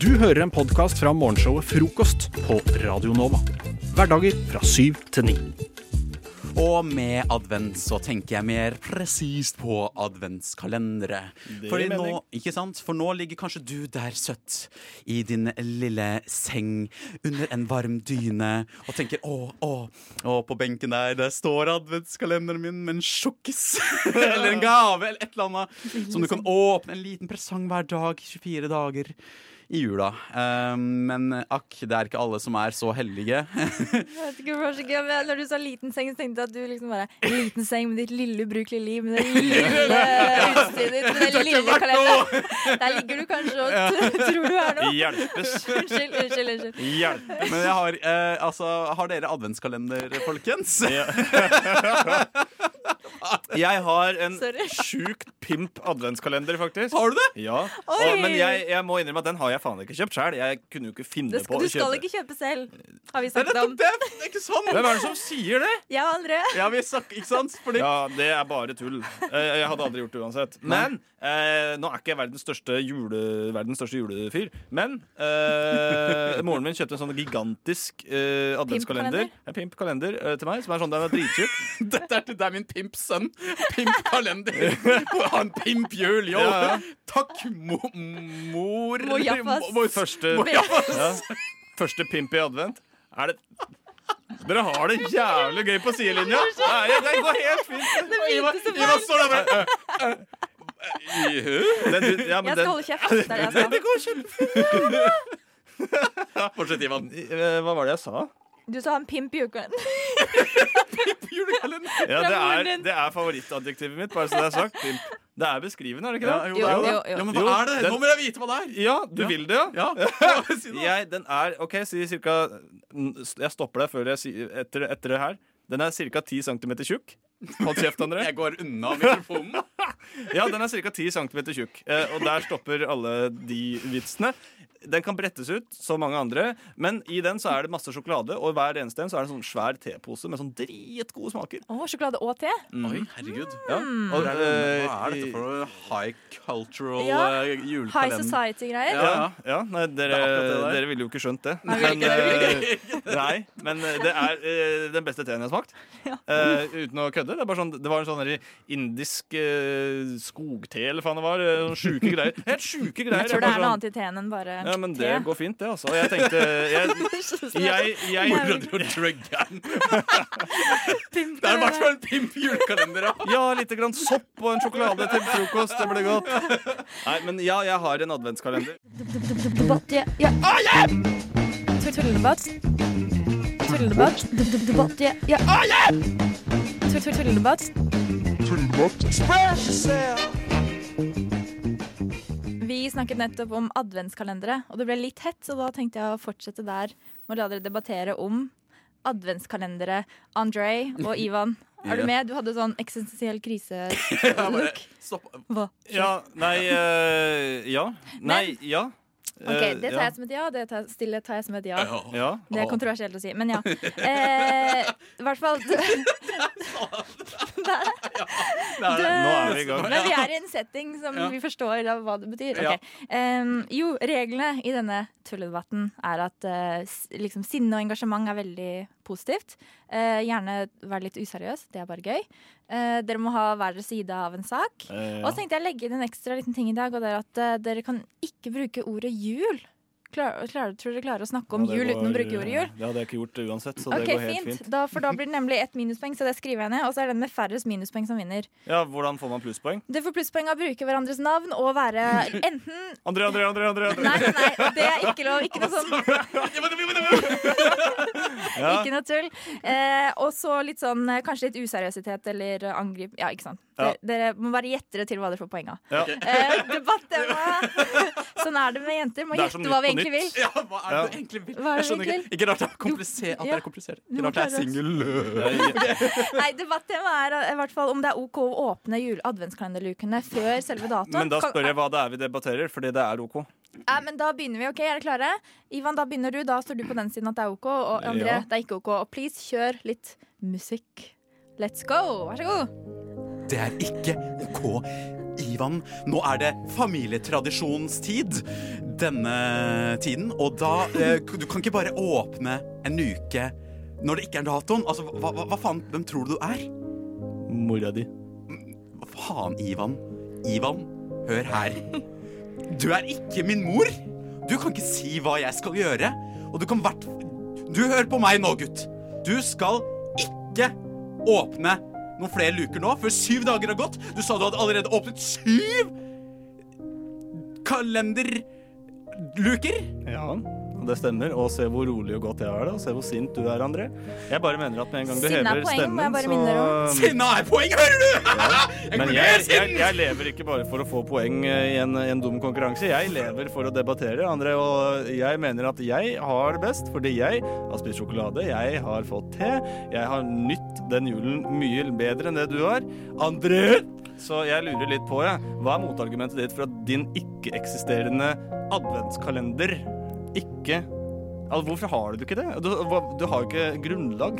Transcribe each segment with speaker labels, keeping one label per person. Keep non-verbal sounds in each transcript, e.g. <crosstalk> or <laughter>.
Speaker 1: Du hører en podkast fra morgenshowet Frokost på Radio Nova. Hverdager fra syv til ni.
Speaker 2: Og med advent så tenker jeg mer presist på adventskalendere. Fordi
Speaker 3: gir mening.
Speaker 2: nå, ikke sant? For nå ligger kanskje du der søtt i din lille seng under en varm dyne og tenker å, å, å, på benken der der står adventskalenderen min med en sjokkis <laughs> eller en gave eller et eller annet som du kan åpne en liten presang hver dag i 24 dager. I jula. Eh, men akk, det er ikke alle som er så heldige.
Speaker 4: Jeg vet ikke, hvorfor, ikke, men Når du sa liten seng, så tenkte jeg at du liksom bare Liten seng med ditt lille ubrukelige liv, med det lille utstyret ditt, med den lille kalenderen. <laughs> Der ligger du kanskje og t- <laughs> <laughs> tror du er noe.
Speaker 2: Hjelpes!
Speaker 4: Unnskyld, unnskyld. unnskyld
Speaker 2: Men jeg har, eh, altså, har dere adventskalender, folkens? <laughs>
Speaker 3: Jeg har en
Speaker 4: Sorry.
Speaker 3: sjukt pimp adventskalender, faktisk.
Speaker 2: Har du det?
Speaker 3: Ja.
Speaker 4: Oi!
Speaker 3: Og, men jeg, jeg må innrømme at den har jeg faen ikke kjøpt sjøl. Jeg kunne jo ikke finne
Speaker 4: Det skal,
Speaker 3: på
Speaker 4: du
Speaker 3: å
Speaker 4: skal
Speaker 3: kjøpe.
Speaker 4: ikke kjøpe selv, har vi
Speaker 2: Det er
Speaker 4: snakket
Speaker 2: nettopp
Speaker 4: om.
Speaker 2: det! Det er ikke sant!
Speaker 3: Hvem er sånn. det som sier det?
Speaker 4: Jeg og André.
Speaker 2: Ja, vi snakker, ikke sant? Fordi,
Speaker 3: Ja, det er bare tull. Eh, Jeg hadde aldri gjort det uansett. Men eh, nå er ikke jeg verdens største, jule, verdens største julefyr. Men
Speaker 2: <laughs>
Speaker 3: eh, moren min kjøpte en sånn gigantisk eh, adventskalender
Speaker 4: Pimpkalender?
Speaker 3: Ja, pimpkalender eh, til meg, som er sånn den er
Speaker 2: <laughs>
Speaker 3: dritkjøp.
Speaker 2: Dette er til deg, min pimp-sønn.
Speaker 3: <laughs>
Speaker 2: Pimp-kalender. Ha en pimp-jul, yo!
Speaker 3: Ja, ja.
Speaker 2: Takk, mo mor
Speaker 4: Mo Jaffas.
Speaker 2: Mo- Mo-
Speaker 3: Første,
Speaker 2: Mo Jaffas.
Speaker 3: ja, første pimp i advent. Er det Dere har det jævlig gøy på sidelinja! Nei, Det går helt fint.
Speaker 2: Ivar
Speaker 4: Lite som
Speaker 2: Ivar
Speaker 4: meg.
Speaker 2: står der bare Juhu.
Speaker 3: Den, ja,
Speaker 4: Jeg skal
Speaker 3: men den,
Speaker 4: holde kjeft. Det er det jeg skal.
Speaker 3: <laughs> det går kjempefint.
Speaker 2: Fortsett, Ivan.
Speaker 3: Eh, Hva var det jeg sa?
Speaker 4: Du sa en pimp i uken. <laughs>
Speaker 2: Julekalender.
Speaker 3: Ja, det
Speaker 4: moren
Speaker 3: er,
Speaker 4: din.
Speaker 3: det er favorittadjektivet mitt, bare så det er sagt. Pimp. Det er beskrivende, er det ikke det?
Speaker 4: Jo,
Speaker 2: det er
Speaker 4: jo,
Speaker 2: det.
Speaker 4: jo.
Speaker 2: Ja, men hva
Speaker 3: Jo,
Speaker 2: er det?
Speaker 3: den-
Speaker 2: Nå vil jeg vite hva det er.
Speaker 3: Ja, du vil det, ja?
Speaker 2: <laughs> Ja, si det.
Speaker 3: Jeg, den er, ok, si cirka Jeg stopper deg før jeg sier etter, etter det her. Den er ca. 10 cm tjukk. Hold kjeft, André.
Speaker 2: <laughs> Jeg går unna mikrofonen.
Speaker 3: <laughs> Ja, den er ca. 10 cm tjukk. eh, Og der stopper alle de vitsene. Den kan brettes ut, som mange andre, men i den så er det masse sjokolade. Og hver eneste en så er det en sånn svær tepose med sånn dritgode smaker.
Speaker 4: Å, sjokolade og te?
Speaker 2: Oi, herregud.
Speaker 3: Ja,
Speaker 4: Mm.
Speaker 3: og,
Speaker 2: Hva
Speaker 3: eh,
Speaker 2: Mm. er dette for noe high cultural
Speaker 4: Ja.
Speaker 2: eh,
Speaker 4: High
Speaker 2: julekalender?
Speaker 4: society-greier?
Speaker 3: Ja, ja nei, dere,
Speaker 2: Det er akkurat det der.
Speaker 3: dere ville jo ikke skjønt det.
Speaker 4: Nei, vi ville ikke
Speaker 3: eh, nei, men det er eh, den beste teen jeg har smakt. Eh, uten å kødde. Det, er bare sånn, det var en sånn der indisk eh, skogte eller faen det var. eh, Sånn sjuke greier. Helt sjuke greier.
Speaker 4: Jeg tror det
Speaker 3: er bare
Speaker 4: er noe
Speaker 3: sånn,
Speaker 4: annet i teen enn bare <laughs>
Speaker 3: ja, men det
Speaker 4: te.
Speaker 3: går fint, det, altså. Og jeg tenkte
Speaker 4: <laughs>
Speaker 3: jeg, jeg,
Speaker 4: sånn.
Speaker 3: jeg, <laughs>
Speaker 2: Brødre og Druggan. Det er i hvert fall en pimp julekalender. ja.
Speaker 3: Ja, litt grann sopp og en sjokolade til frokost. Det ble godt. Nei, men ja, jeg har en adventskalender.
Speaker 5: Debatt, ja, ja.
Speaker 4: Tulledebatt. Tulledebatt.
Speaker 5: Debatt, ja, ja.
Speaker 4: Tulledebatt. Vi snakket nettopp om adventskalendere, og det ble litt hett, så da tenkte jeg å fortsette der med å la dere debattere om adventskalendere. André og Ivan, er
Speaker 2: Ja.
Speaker 4: du med? Du hadde sånn eksistensiell krise. Look.
Speaker 2: Stopp.
Speaker 4: Hva?
Speaker 3: Ja, nei eh, Ja. Nei, ja.
Speaker 4: Ok,
Speaker 3: Eh,
Speaker 4: det tar jeg som et ja, det tar, stille tar jeg som et ja.
Speaker 3: ja.
Speaker 4: Det er kontroversielt å si, men ja. Eh, I hvert fall <laughs>
Speaker 2: Det er det.
Speaker 3: Nå er vi i gang.
Speaker 4: Men vi
Speaker 3: <laughs>
Speaker 4: er i en setting som
Speaker 2: Ja.
Speaker 4: vi forstår av hva det betyr.
Speaker 2: Ja.
Speaker 4: Ok. Em, jo, reglene i denne tulledebatten er at eh, s- liksom, sinne og engasjement er veldig positivt. Eh, gjerne være litt useriøs, det er bare gøy. Eh, dere må ha hver deres side av en sak.
Speaker 3: Eh,
Speaker 4: Og så tenkte jeg å legge inn en ekstra liten ting i dag, og det er at eh, dere kan ikke bruke ordet jul. Klar, klar, tror dere klarer å snakke om
Speaker 3: Ja, det
Speaker 4: jul uten
Speaker 3: går-
Speaker 4: å bruke ordet jul?
Speaker 3: Det hadde jeg ikke gjort uansett, så
Speaker 4: Ok,
Speaker 3: det går helt
Speaker 4: fint.
Speaker 3: fint.
Speaker 4: Da, for da blir det nemlig ett minuspoeng, så det skriver jeg ned. Og så er den med færrest minuspoeng som vinner.
Speaker 3: Ja, Hvordan får man plusspoeng?
Speaker 4: Du får plusspoeng av å bruke hverandres navn og være enten
Speaker 3: André, André, André! André, André.
Speaker 4: Nei, nei, nei, det er ikke lov. Ikke noe sånn,
Speaker 3: <laughs> Ja.
Speaker 4: ikke noe tull. Eh, og så litt sånn eh, kanskje litt useriøsitet eller eh, angrip... Ja, ikke sant.
Speaker 3: Ja.
Speaker 4: Dere, dere må være gjettere til hva dere får poeng av.
Speaker 3: Ja.
Speaker 4: Eh, Debattema! Sånn er det med jenter. Må
Speaker 3: Det er som
Speaker 4: gjette hva vi
Speaker 3: Nytt på
Speaker 4: egentlig vil.
Speaker 3: Nytt.
Speaker 2: Ja, hva er det du
Speaker 3: <laughs> Ja.
Speaker 2: egentlig vil?
Speaker 4: Hva er det
Speaker 2: Jeg skjønner
Speaker 4: vi
Speaker 2: ikke. Ikke rart det er komplisert. At det
Speaker 4: Ja.
Speaker 2: er komplisert.
Speaker 4: Du må
Speaker 2: Ikke rart det er
Speaker 4: klare oss.
Speaker 2: singel.
Speaker 4: <laughs> Nei, Debattema er eh, i hvert fall om det er OK å åpne jul adventskalenderlukene før selve datoen.
Speaker 3: Men da
Speaker 4: Kan-
Speaker 3: spør jeg hva det er vi debatterer, fordi det er OK.
Speaker 4: Ja, men da begynner vi, ok? Er dere klare? Ivan, da begynner du. Da står du på den siden at det er OK. Og André,
Speaker 3: Ja.
Speaker 4: det er ikke OK. Og please, kjør litt musikk. Let's go! Vær så god.
Speaker 2: Det er ikke OK i divan. Nå er det familietradisjonstid denne tiden. Og da eh, Du kan ikke bare åpne en uke når det ikke er datoen. Altså, hva, hva, hva faen? Hvem tror du du er?
Speaker 3: Mora di.
Speaker 2: Hva faen, Ivan? Ivan, hør her. Du er ikke min mor! Du kan ikke si hva jeg skal gjøre. Og du kan hvert... Du hører på meg nå, gutt. Du skal ikke åpne noen flere luker nå, før syv dager har gått. Du sa du hadde allerede åpnet syv kalenderluker.
Speaker 3: Ja, og det stemmer. Og se hvor rolig og godt jeg er, da. Se hvor sint du er, André. Jeg bare mener at med en gang du
Speaker 4: Sinne er poeng,
Speaker 3: hever
Speaker 4: må jeg
Speaker 3: stemmen,
Speaker 4: bare
Speaker 3: så
Speaker 4: minne dere
Speaker 2: Sinna er poeng, hører du! Jeg
Speaker 3: Men jeg,
Speaker 2: blir mer
Speaker 3: jeg,
Speaker 2: sint!
Speaker 3: jeg lever ikke bare for å få poeng eh, i en, i en dum konkurranse. Jeg lever for å debattere, André, og jeg mener at jeg har det best fordi jeg har spist sjokolade, jeg har fått te, jeg har nytt den julen mye bedre enn det du har. André! Så jeg lurer litt på, jeg. Hva er motargumentet ditt for at din ikke-eksisterende adventskalender ikke Altså, hvorfor har du ikke det? Du, hva- du har jo ikke grunnlag.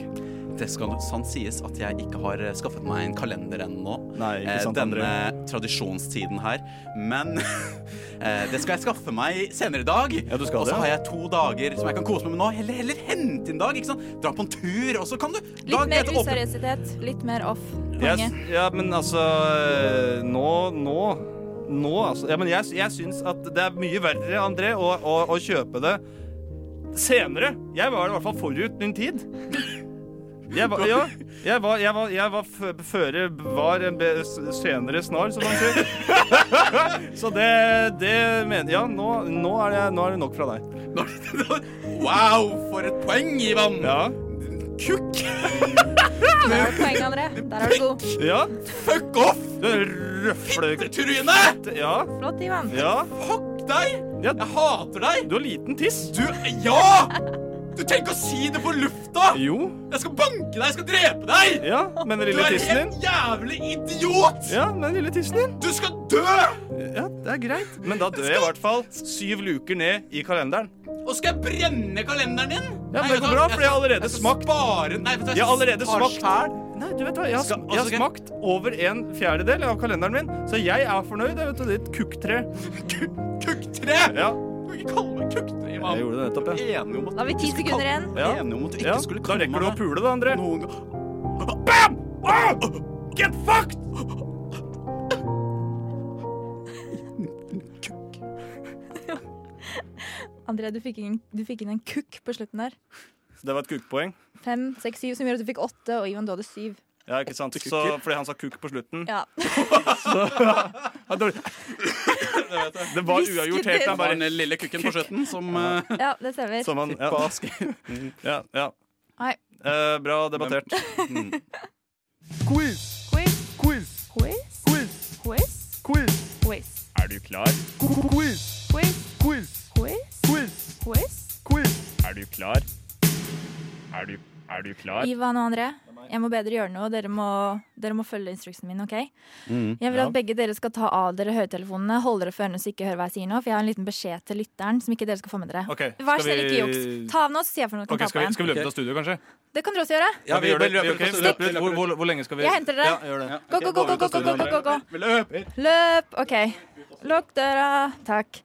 Speaker 2: Det skal sant sies at jeg ikke har eh, skaffet meg en kalender ennå.
Speaker 3: Nei, ikke
Speaker 2: eh,
Speaker 3: sant,
Speaker 2: denne
Speaker 3: André?
Speaker 2: tradisjonstiden her. Men <laughs> eh, det skal jeg skaffe meg senere i dag.
Speaker 3: Ja, du skal
Speaker 2: og så
Speaker 3: det, ja.
Speaker 2: har jeg to dager som jeg kan kose meg med nå. Heller, heller hente inn dag. ikke sant? Dra på en tur, og så kan du
Speaker 4: Litt mer
Speaker 2: etter åpne-
Speaker 4: useriøsitet, litt mer off.
Speaker 3: Jeg
Speaker 4: Mange.
Speaker 3: s- ja, men altså Nå, nå Nå, altså. Ja, men jeg, s- jeg syns at det er mye verre, André, å, å, å kjøpe det senere. Jeg var i hvert fall forut min tid. Jeg var, ja, jeg var, jeg var, jeg var fø- føre var en be, s- senere snar, som man sier. <laughs> Så det, det mener Ja, nå, nå, er det, nå er det nok fra deg.
Speaker 2: <laughs> Wow, for et poeng, Ivan!
Speaker 3: Ja,
Speaker 2: Kukk!
Speaker 4: Der har du poeng, André. Der er du
Speaker 3: <laughs>
Speaker 4: god.
Speaker 3: ja.
Speaker 2: Fuck off!
Speaker 3: Du røfler
Speaker 2: Tryne!
Speaker 3: Ja,
Speaker 4: Flott, Ivan.
Speaker 3: ja.
Speaker 2: Fuck deg!
Speaker 3: Ja.
Speaker 2: Jeg hater deg!
Speaker 3: Du har liten tiss.
Speaker 2: Du Ja! Du trenger ikke å si det på lufta!
Speaker 3: Jo.
Speaker 2: Jeg skal banke deg! Jeg skal drepe deg!
Speaker 3: Ja, men den
Speaker 2: Du
Speaker 3: lille
Speaker 2: er
Speaker 3: tissen din
Speaker 2: en jævlig idiot!
Speaker 3: Ja, men den lille tissen din
Speaker 2: Du skal dø!
Speaker 3: Ja, det er greit Men da dør jeg i hvert fall syv luker ned i kalenderen
Speaker 2: Og skal jeg brenne kalenderen din?
Speaker 3: Ja,
Speaker 2: Nei,
Speaker 3: men det
Speaker 2: vet du
Speaker 3: går bra,
Speaker 2: hva?
Speaker 3: for jeg har allerede
Speaker 2: skal
Speaker 3: smakt.
Speaker 2: Spare, nei, vet du, hva,
Speaker 3: Jeg har allerede
Speaker 2: tar
Speaker 3: smakt.
Speaker 2: sjæl.
Speaker 3: Nei, du vet hva, jeg har,
Speaker 2: Skal-
Speaker 3: jeg har
Speaker 2: altså, ok.
Speaker 3: smakt over en fjerdedel av kalenderen min Så jeg er fornøyd, jeg vet du, det er et
Speaker 2: <laughs>
Speaker 3: kukktre
Speaker 2: Ku- Kukktre!
Speaker 3: Ja,
Speaker 2: Du kan ikke kalle meg kukktre, Imam.
Speaker 3: jeg gjorde det nettopp, ja
Speaker 2: Enig om at
Speaker 4: Da har vi
Speaker 2: du
Speaker 4: ti
Speaker 2: skulle
Speaker 4: sekunder
Speaker 2: kalle-
Speaker 4: igjen.
Speaker 3: Ja.
Speaker 2: Enig om at du ikke
Speaker 3: ja.
Speaker 2: skulle
Speaker 3: Da
Speaker 2: kalle
Speaker 3: rekker du å
Speaker 2: meg
Speaker 3: pule det, André
Speaker 2: noen gang.
Speaker 3: BAM! Ah! Get fucked!
Speaker 4: André, du fikk, inn, du fikk inn en kukk på slutten der.
Speaker 3: Det var et kukkpoeng
Speaker 4: Fem, seks, syv, som gjør at du fikk åtte, og Ivan, du hadde syv.
Speaker 3: Ja, ikke sant, så fordi han sa kukk på slutten
Speaker 4: Ja. <laughs>
Speaker 3: Ja, dårlig. <laughs> Det var
Speaker 4: Hvisket
Speaker 3: uavgjort helt,
Speaker 4: inn.
Speaker 3: han
Speaker 2: Det var
Speaker 3: bare
Speaker 2: den lille kukken på slutten som eh,
Speaker 4: ja, det stemmer.
Speaker 3: Som han, <laughs> ja.
Speaker 2: tippa sk-
Speaker 3: Ja, ja.
Speaker 4: Nei.
Speaker 3: Eh, bra
Speaker 4: <laughs>
Speaker 3: debattert. Mm.
Speaker 4: Quiz. Quiz. Quiz. Quiz. Quiz. Quiz. Quiz. Ivan og André, jeg må bedre gjøre noe. Dere må, dere må følge instruksen min, OK? Jeg vil
Speaker 3: Mm. ja.
Speaker 4: at
Speaker 3: <laughs>
Speaker 4: begge dere skal ta av dere høytelefonene, holde dere for ørene så ikke hører hva jeg sier nå, for jeg har en liten beskjed til lytteren som ikke dere skal få med dere.
Speaker 3: Ok,
Speaker 4: Vær
Speaker 3: skal
Speaker 4: snill, ikke juks.
Speaker 3: vi-
Speaker 4: Ta av nå, så sier jeg for noe dere
Speaker 3: Ok,
Speaker 4: kan ta
Speaker 3: skal
Speaker 4: på
Speaker 3: vi,
Speaker 4: igjen.
Speaker 3: skal vi løpe ut av studio, kanskje?
Speaker 4: Det kan dere også gjøre.
Speaker 2: Ja, vi
Speaker 3: gjør
Speaker 2: gjør det.
Speaker 3: det.
Speaker 2: Vi
Speaker 3: Ok,
Speaker 2: løper
Speaker 3: vi
Speaker 2: ut.
Speaker 3: løper ut. Hvor, hvor, hvor lenge skal vi
Speaker 4: Jeg henter dere.
Speaker 3: Ja, gjør det.
Speaker 4: Gå, gå, gå, gå, gå, gå, gå, gå, gå,
Speaker 2: Vi løper.
Speaker 4: gå. Løp. OK. Lukk døra. Takk.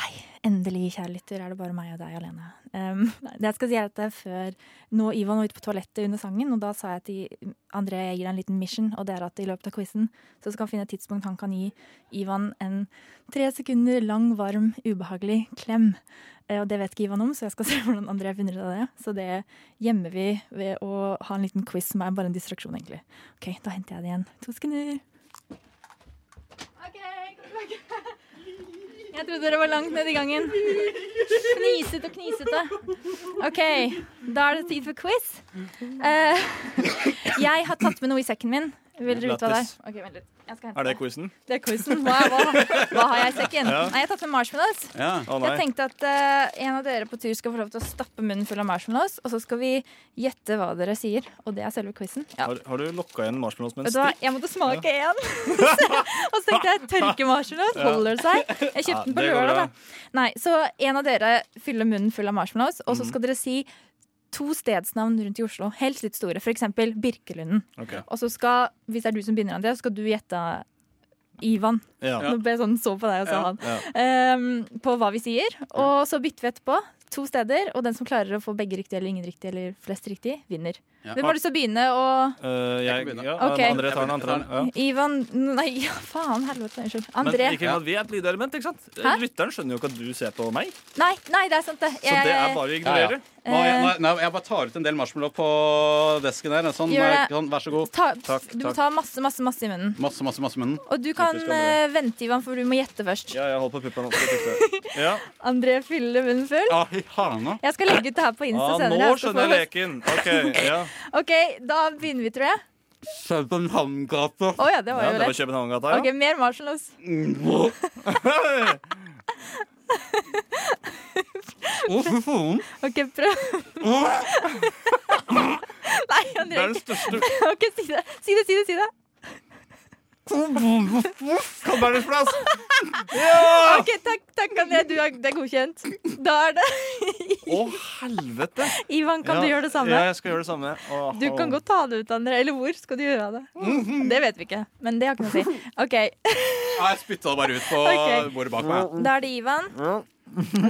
Speaker 4: Hei. Endelig, kjære lytter, er det bare meg og deg alene. Um, det jeg skal si er at det er før nå Ivan var ute på toalettet under sangen, og da sa jeg til André jeg gir deg en liten mission, og det er at i løpet av quizen så skal han finne et tidspunkt han kan gi Ivan en tre sekunder lang, varm, ubehagelig klem. Eh, Og det vet ikke Ivan om, så jeg skal <laughs> se hvordan André finner ut av det. Så det gjemmer vi ved å ha en liten quiz som er bare en distraksjon, egentlig. OK, da henter jeg det igjen. To sekunder. OK, kom tilbake. Jeg trodde dere var langt nede i gangen. Fnisete og knisete. OK, da er det tid for quiz. Eh, <laughs> jeg har tatt med noe i sekken min. Vil dere vite hva det er? Ok, vent litt. Jeg skal hente
Speaker 3: Er det quizen?
Speaker 4: det er quizen. Hva, hva, hva har jeg i sekken? Nei, jeg har tatt med marshmallows.
Speaker 2: Ja.
Speaker 3: Å
Speaker 4: Jeg
Speaker 3: nei.
Speaker 4: tenkte at eh, en av dere på tur skal få lov til å stappe munnen full av marshmallows, og så skal vi gjette hva dere sier. Og det er selve quizen. Ja.
Speaker 3: Har, har du lokka igjen marshmallows med en
Speaker 4: Vet du hva,
Speaker 3: stikk?
Speaker 4: jeg måtte smake én. <laughs> og så tenkte jeg tørke marshmallows. Holder det seg? Jeg kjøpte den på
Speaker 3: det går
Speaker 4: lørdag,
Speaker 3: bra.
Speaker 4: da. Nei, så en av dere fyller munnen full av marshmallows,
Speaker 3: Mhm.
Speaker 4: og så skal dere si to stedsnavn rundt i Oslo, helst litt store. For eksempel Birkelunden.
Speaker 3: Ok.
Speaker 4: Og så skal, hvis det er du som begynner, André, så skal du gjette Ivan.
Speaker 3: Ja.
Speaker 4: Nå ble jeg sånn så på deg og sa
Speaker 6: Ja.
Speaker 4: han. Ehm, på hva vi sier. Og så bytter vi etterpå. To steder, og den som klarer å få begge riktig eller ingen riktig eller flest riktig, vinner.
Speaker 6: Ja.
Speaker 4: Hvem har lyst til å begynne å
Speaker 6: Jeg
Speaker 3: Eh,
Speaker 6: kan
Speaker 3: jeg,
Speaker 6: begynne.
Speaker 3: ja,
Speaker 4: Ok.
Speaker 3: André tar den andre. Ja.
Speaker 4: Ivan Nei, <laughs> ja, faen. Helvete. Unnskyld.
Speaker 3: Men
Speaker 4: André.
Speaker 3: ikke sant, vi er et lydelement, ikke sant?
Speaker 4: Hæ?
Speaker 3: Lytteren skjønner jo ikke at du ser på meg.
Speaker 4: Nei, nei, det er sant, det.
Speaker 3: Så det er bare
Speaker 6: Ja,
Speaker 3: å
Speaker 6: ja.
Speaker 3: ignorere.
Speaker 4: Eh,
Speaker 6: Nå, jeg, nå- nå, jeg bare tar ut en del marshmallow på desken her. Sånn,
Speaker 4: Gjør det.
Speaker 6: sånn, vær så god.
Speaker 4: Eh, ta,
Speaker 3: Takk,
Speaker 4: du må
Speaker 3: takk.
Speaker 4: ta masse, masse, masse i munnen.
Speaker 6: Masse, masse, masse i munnen.
Speaker 4: Og du kan
Speaker 3: Typisk André.
Speaker 4: eh, vente, Ivan, for du må gjette først.
Speaker 3: Ja, jeg holder på puppene også.
Speaker 4: <laughs>
Speaker 3: Ja.
Speaker 4: André fyller munnen full.
Speaker 6: Ah, i hana.
Speaker 4: Jeg skal legge ut det her på Insta
Speaker 3: Ah,
Speaker 4: senere.
Speaker 3: nå
Speaker 4: Jeg skal
Speaker 3: skjønner jeg
Speaker 4: få-
Speaker 3: leken. Ok, ja.
Speaker 4: Ok, Da begynner vi, tror jeg.
Speaker 6: Københavngata.
Speaker 4: Å ja, det var
Speaker 3: ja
Speaker 4: jo
Speaker 3: det var
Speaker 4: lett.
Speaker 3: Københavngata,
Speaker 4: Ok, Mer marshmallows.
Speaker 3: ja.
Speaker 6: Å, fy
Speaker 3: <laughs>
Speaker 6: faen.
Speaker 4: Ok, prøv. <laughs> Nei,
Speaker 3: Det er
Speaker 4: André.
Speaker 3: den
Speaker 4: ikke-
Speaker 3: største
Speaker 4: <laughs> Ok, si det. Si det, si det. si det <laughs>
Speaker 3: Kalbergsplass!
Speaker 4: Ok, Takk, takk, André. Du er, det er godkjent. Da er det <laughs>
Speaker 3: Å, helvete!
Speaker 4: Ivan, Sånn kan
Speaker 3: Ja,
Speaker 4: du gjøre det samme?
Speaker 3: Ja, jeg skal gjøre det samme. Åh,
Speaker 4: Du kan godt ta det ut, André. Eller hvor skal du gjøre av det?
Speaker 3: Mhm.
Speaker 4: Det vet vi ikke, men det har ikke noe å si. Ok,
Speaker 6: Ja, jeg spytta det bare ut på
Speaker 4: <laughs> Ok.
Speaker 6: bordet bak meg.
Speaker 4: Da er det Ivan.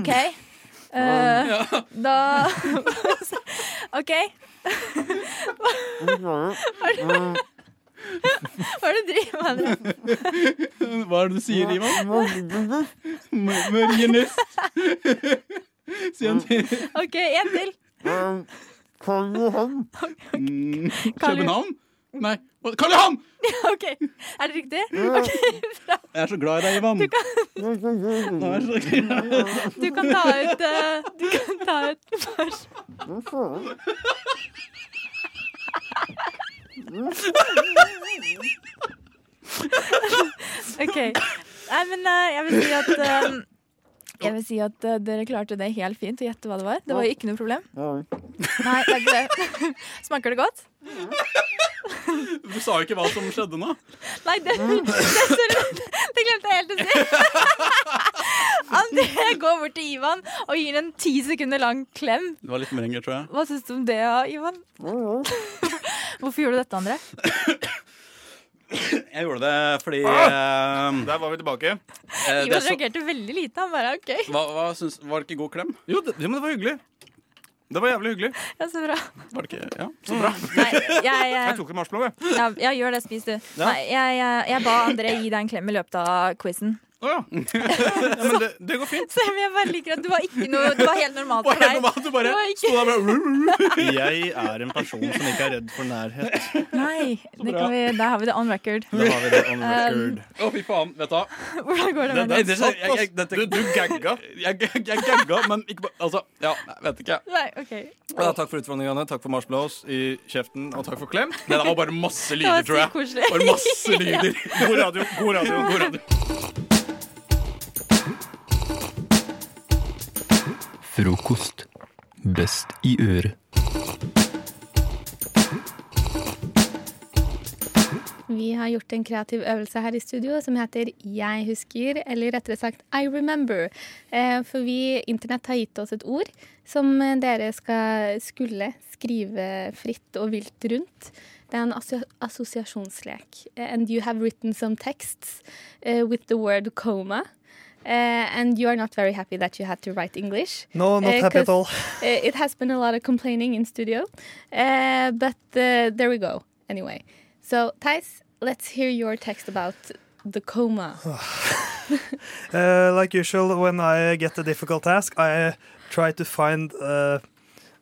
Speaker 4: OK. Eh, da <laughs> OK. Hva er det du driver med? André?
Speaker 6: Hva er det du sier, Ivan? Mørgenist. Sier han til
Speaker 4: OK, en til.
Speaker 6: Mm,
Speaker 4: Karl
Speaker 6: København? Nei, hva- Karl Johan!
Speaker 4: <laughs> OK, Er det riktig? Ok, bra.
Speaker 6: Jeg er så glad i deg, Ivan. Nå er jeg så glad.
Speaker 4: Du kan ta ut eh, Du kan ta ut mars. OK. Nei, men eh, jeg vil si at eh, jeg vil si at eh, dere klarte det helt fint å gjette hva det var. Det var jo ikke noe problem. Nei, det er ikke det. <laughs> Smaker det godt?
Speaker 6: Du sa jo ikke hva som skjedde nå.
Speaker 4: Nei, det, det, sorry, det glemte jeg helt å si. <laughs> André går bort til Ivan og gir ham en ti sekunder lang klem.
Speaker 6: Det var litt mer lenger, tror jeg.
Speaker 4: Hva syns du om det, ja, Ivan? Mm. Hvorfor gjorde du dette, André?
Speaker 6: Jeg gjorde det fordi eh,
Speaker 3: Ah! Der var vi tilbake.
Speaker 6: eh, det
Speaker 4: Ivan
Speaker 6: er så,
Speaker 4: reagerte veldig lite. Han bare OK,
Speaker 6: hva, hva syns, Var det ikke god klem?
Speaker 3: Jo, det, jo, men det var hyggelig. Det var jævlig hyggelig.
Speaker 4: ja, så bra.
Speaker 6: Var det ikke, ja, så bra.
Speaker 4: Nei, jeg, eh,
Speaker 3: Jeg
Speaker 4: jeg,
Speaker 3: tok en marshmallow, jeg.
Speaker 4: ja, ja, gjør det. Spis, du.
Speaker 3: Ja.
Speaker 4: Nei, jeg, jeg, jeg ba André gi deg en klem i løpet av quizen.
Speaker 3: Å, ja. ja, men det, det går
Speaker 4: <laughs>
Speaker 3: fint.
Speaker 4: Så jeg bare liker at du var, ikke noe, du var helt normalt
Speaker 6: Bare
Speaker 4: for
Speaker 6: helt
Speaker 4: deg.
Speaker 6: normalt, du bare
Speaker 4: Det var ikke-
Speaker 6: sto der bare
Speaker 3: Jeg er en person som ikke er redd for nærhet.
Speaker 4: Nei, det kan vi, der har vi det on record.
Speaker 3: Da har vi det
Speaker 4: <laughs>
Speaker 3: on
Speaker 4: record.
Speaker 6: <laughs> Å, fy faen. Vet du hva?
Speaker 4: Hvordan går det med
Speaker 6: Nei,
Speaker 4: det?
Speaker 6: det er så- jeg- jeg- dette-
Speaker 3: Du, du gagga.
Speaker 6: Jeg, jeg, jeg gagga, men ikke bare Altså, ja, jeg vet ikke.
Speaker 4: Nei, ok
Speaker 3: Ja, takk for utfordringene, takk for marshmallows i kjeften, og takk for klem.
Speaker 6: Det der var bare masse
Speaker 4: Det var
Speaker 6: lyder,
Speaker 4: sykt
Speaker 6: tror jeg.
Speaker 4: koselig.
Speaker 6: Bare masse lyder.
Speaker 3: <laughs> God radio. God radio.
Speaker 6: God radio.
Speaker 7: Frokost. Best i øret.
Speaker 8: Vi har gjort en kreativ øvelse her i studio som heter Jeg husker, eller rettere sagt I remember. Eh, For vi, internett har gitt oss et ord som eh, dere skal skulle skrive fritt og vilt rundt. Det er en assosia- assosiasjonslek. Eh, And you have written some texts eh, with the word coma. Eh, and you are not very happy that you had to write English.
Speaker 9: No, not
Speaker 8: Eh,
Speaker 9: happy at
Speaker 8: 'cause,
Speaker 9: all.
Speaker 8: eh, it has been a lot of complaining in studio, Eh, but eh, there we go. Anyway, so Thais, let's hear your text about the coma.
Speaker 9: <sighs> Uh, like usual, when I get a difficult task, I try to find uh,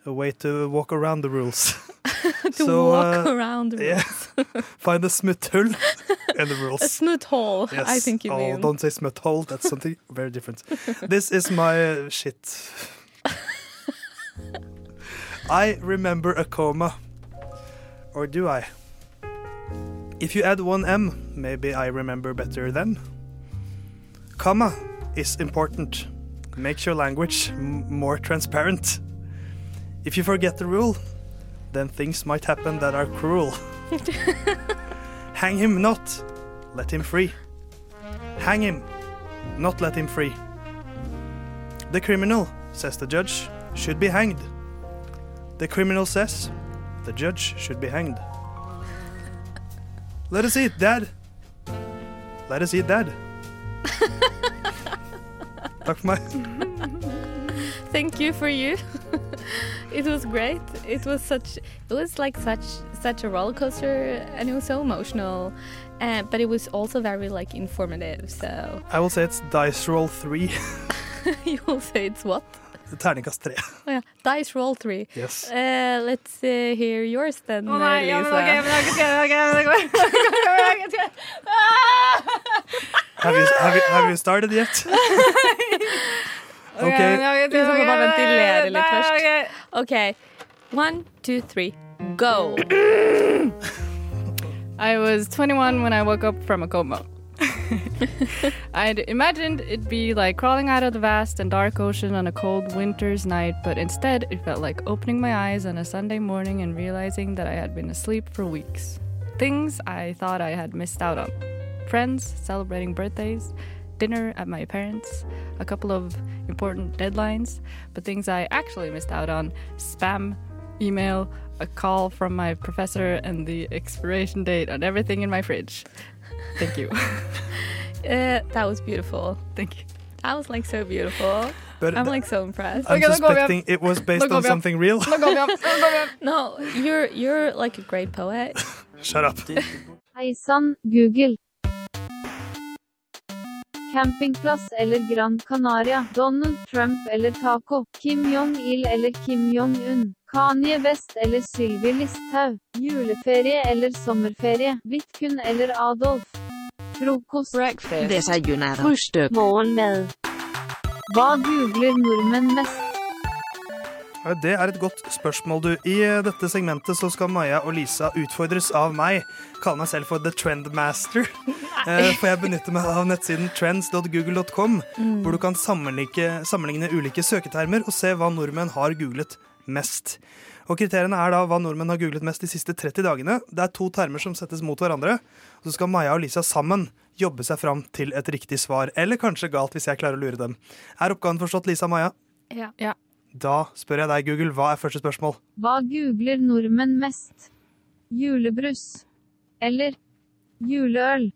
Speaker 9: a way to walk around the rules.
Speaker 8: <laughs> to
Speaker 9: so,
Speaker 8: walk
Speaker 9: uh,
Speaker 8: around the
Speaker 9: yeah.
Speaker 8: rules.
Speaker 9: Find a smutthull <laughs> in the rules.
Speaker 8: a
Speaker 9: <laughs>
Speaker 8: smooth hole.
Speaker 9: Yes.
Speaker 8: I think you
Speaker 9: oh,
Speaker 8: mean.
Speaker 9: don't say smutthull. That's something very different. This is my
Speaker 8: <laughs>
Speaker 9: uh, shit. I remember a coma. Or do I? If you add one M, maybe I remember better then. Comma is important. Makes your language m- more transparent. If you forget the rule, then things might happen that are
Speaker 8: <laughs>
Speaker 9: cruel. Hang him not, let him free. Hang him, not let him free. The criminal, says the judge, should be hanged. The criminal says the judge should be hanged. Let us eat, Dad. Let us eat dad. Takk for meg.
Speaker 8: Thank you for you. <laughs> it was great. It was such. It was like such such a roller coaster, and it was so emotional, uh, but it was also very like informative. So
Speaker 9: I will say it's dice roll three. <laughs>
Speaker 8: <laughs>
Speaker 9: er
Speaker 8: you will say it's what?
Speaker 9: Terningkast tre.
Speaker 8: Oh, yeah. Dice roll three.
Speaker 9: Yes.
Speaker 8: Uh, let's uh, hear yours then,
Speaker 4: Å nei, ja, men
Speaker 8: Lisa.
Speaker 4: ok, men ok, ok, men ok, men ok, ok.
Speaker 9: Have you, have you, have you started yet? okay.
Speaker 8: Vi skal bare ventilere litt
Speaker 4: Nei,
Speaker 8: først.
Speaker 4: ok.
Speaker 8: Okay. One, two, three, go.
Speaker 10: I was 21 when I woke up from a coma. I'd imagined it'd be like crawling out of the vast and dark ocean on a cold winter's night, but instead it felt like opening my eyes on a Sunday morning and realizing that I had been asleep for weeks. Things I thought I had missed out on friends celebrating birthdays, dinner at my parents', a couple of important deadlines, but things I actually missed out on spam, email, a call from my professor, and the expiration date on everything in my fridge. Thank you.
Speaker 8: Uh, that was beautiful.
Speaker 10: Thank you.
Speaker 8: That was like so beautiful.
Speaker 9: But
Speaker 8: I'm like so impressed.
Speaker 9: I'm
Speaker 10: Ok, da går vi opp.
Speaker 9: suspecting it was based
Speaker 10: Da går
Speaker 9: on
Speaker 10: vi opp.
Speaker 9: something real.
Speaker 10: Nå går vi opp. Nå går vi opp.
Speaker 8: No, you're you're like a great poet.
Speaker 9: Shut up.
Speaker 11: Hei sann, Google. Campingplass eller Gran Canaria, Donald Trump eller taco, Kim Jong-il eller Kim Jong-un, Kanye West eller Sylvi Listhaug, juleferie eller sommerferie, Vidkun eller Adolf. Frokost,
Speaker 12: Breakfast.
Speaker 11: Desayunado.
Speaker 12: Frühstück.
Speaker 11: morgenmad. Hva googler nordmenn mest?
Speaker 9: Ja, Det er et godt spørsmål, du. I eh, dette segmentet så skal Maja og Lisa utfordres av meg. Kalle meg selv for The Trendmaster. Eh, For jeg benytter meg av nettsiden trends.google.com, hvor du kan sammenligne, sammenligne ulike søketermer og se hva nordmenn har googlet mest. Og Kriteriene er da hva nordmenn har googlet mest de siste 30 dagene. Det er to termer som settes mot hverandre. Og så skal Maja og Lisa sammen jobbe seg fram til et riktig svar. Eller kanskje galt, hvis jeg klarer å lure dem. Er oppgaven forstått, Lisa og Maja?
Speaker 8: Ja.
Speaker 10: Ja.
Speaker 9: Da spør jeg deg, Google, hva er første spørsmål?
Speaker 11: Hva googler nordmenn mest? Julebrus. Eller juleøl.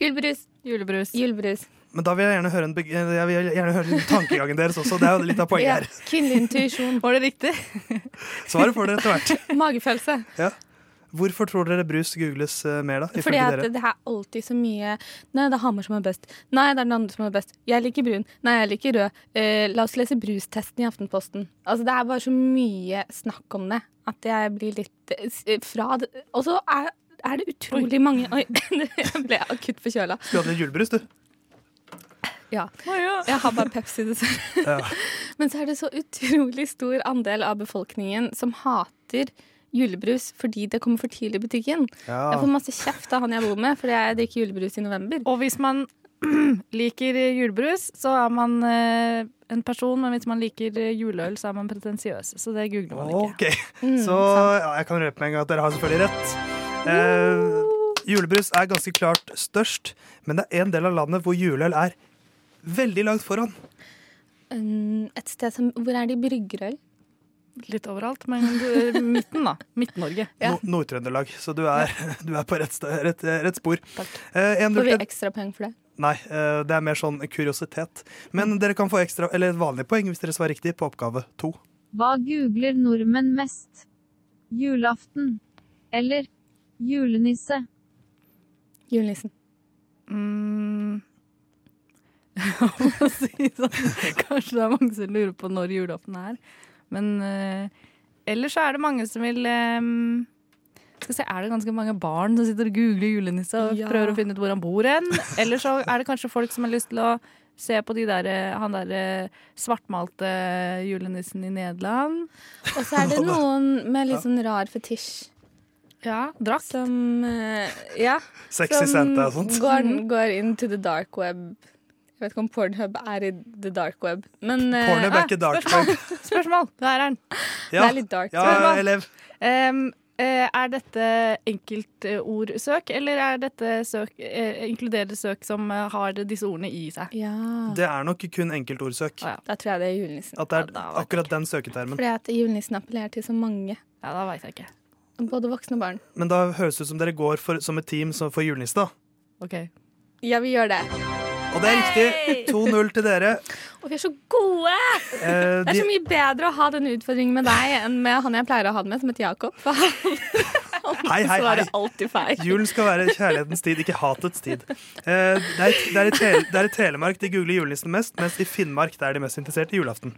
Speaker 8: Julebrus,
Speaker 10: Julebrus.
Speaker 8: julebrus.
Speaker 9: Men da vil jeg gjerne høre, en beg eh, jeg vil gjerne høre tankegangen deres også. Det er jo litt av poenget her.
Speaker 8: Kvinnelig intuisjon.
Speaker 10: Var det riktig?
Speaker 9: <laughs> Svaret får dere etter hvert.
Speaker 8: <laughs> Magefølelse.
Speaker 9: Hvorfor tror dere brus googles eh, mer, da?
Speaker 8: Fordi
Speaker 9: Ifølge
Speaker 8: at
Speaker 9: dere.
Speaker 8: det er alltid så mye Nei, det er Hamar som er best. Nei, det er den andre som er best. Jeg liker brun. Nei, jeg liker rød. Eh, la oss lese brustesten i Aftenposten. Altså, det er bare så mye snakk om det at jeg blir litt eh, s- fra det. Og så er, er det utrolig mange Oi, <laughs> jeg ble akutt forkjøla.
Speaker 9: Du hadde litt julebrus, du.
Speaker 8: Ja. Jeg har bare Pepsi, dessverre.
Speaker 10: <laughs>
Speaker 9: Ja.
Speaker 8: Men så er det så utrolig stor andel av befolkningen som hater julebrus fordi det kommer for tidlig i butikken. Jeg får masse kjeft av han jeg bor med fordi jeg drikker julebrus i november.
Speaker 10: Og hvis man liker julebrus, så er man eh, en person, men hvis man liker eh, juleøl, så er man pretensiøs. Så det googler man ikke.
Speaker 9: Ok,
Speaker 8: Mm,
Speaker 9: Så ja, jeg kan røpe med en gang at dere har selvfølgelig rett. Eh, julebrus er ganske klart størst, men det er en del av landet hvor juleøl er veldig langt foran.
Speaker 8: Mm, Et sted som Hvor er de bryggerøl?
Speaker 10: Litt overalt, men eh, midten, da. Midt-Norge.
Speaker 8: Ja.
Speaker 9: No Nord-Trøndelag, så du er, <laughs> du er på rett, sted, rett, rett spor. Eh, en
Speaker 8: Får vi
Speaker 9: lurte-
Speaker 8: ekstra poeng for det?
Speaker 9: Nei, eh, det er mer sånn kuriositet.
Speaker 8: Mm.
Speaker 9: Men dere kan få ekstra, eller vanlige poeng hvis dere svarer riktig på oppgave to.
Speaker 11: Hva googler nordmenn mest? Julaften. Eller julenisse.
Speaker 8: Julenissen.
Speaker 10: Mm. Jeg må si sånn. <laughs> Kanskje det er mange som lurer på når julaften er. Men eh, ellers så er det mange som vil eh, skal se, Er det ganske mange barn som sitter og googler julenisse og
Speaker 8: Ja.
Speaker 10: prøver å finne ut hvor han bor hen? Eller så er det kanskje folk som har lyst til å se på de der, eh, han derre svartmalte julenissen i Nederland.
Speaker 8: Og så er det noen med litt sånn rar fetisj.
Speaker 10: Ja, Drakt.
Speaker 8: Som eh, Ja.
Speaker 9: Sexy Santa og sånt.
Speaker 8: går,
Speaker 10: Mm.
Speaker 8: går inn to the dark web. Jeg vet ikke om Pornhub er i the dark web, men eh,
Speaker 9: Porno
Speaker 10: ah,
Speaker 9: er ikke dark web.
Speaker 8: <laughs>
Speaker 10: Spørsmål! Der er den.
Speaker 8: det
Speaker 9: Ja,
Speaker 8: er litt dark.
Speaker 9: ja
Speaker 10: spørsmål.
Speaker 9: elev.
Speaker 10: Em, eh, er dette enkeltordsøk, eller er dette søk, eh, inkluderer søk som eh, har disse ordene i seg?
Speaker 8: Ja.
Speaker 9: Det er nok kun enkeltordsøk.
Speaker 10: Ja.
Speaker 8: Da tror jeg det er julenissen.
Speaker 9: At det er
Speaker 10: Ja, da vet
Speaker 9: akkurat den søketermen.
Speaker 8: Fordi at julenissen appellerer til så mange.
Speaker 10: Ja, da veit jeg ikke.
Speaker 8: Både voksne og barn.
Speaker 9: Men da høres det ut som dere går for, som et team som for julenisse, da.
Speaker 10: Ok.
Speaker 8: Ja, vi gjør det.
Speaker 9: Og det er riktig. 2-0 til dere.
Speaker 8: Og vi er så gode!
Speaker 9: Eh,
Speaker 8: det er
Speaker 9: de-
Speaker 8: så mye bedre å ha denne utfordringen med deg enn med han jeg pleier å ha den med, som heter
Speaker 9: <laughs>
Speaker 8: Jakob. For han
Speaker 9: Hei, hei, hei.
Speaker 8: svarer alltid feil.
Speaker 9: Julen skal være kjærlighetens tid, ikke hatets tid. Eh, det, er, det, er i Tele, det er i Telemark de googler julenissen mest, mens i Finnmark det er de mest interessert i julaften.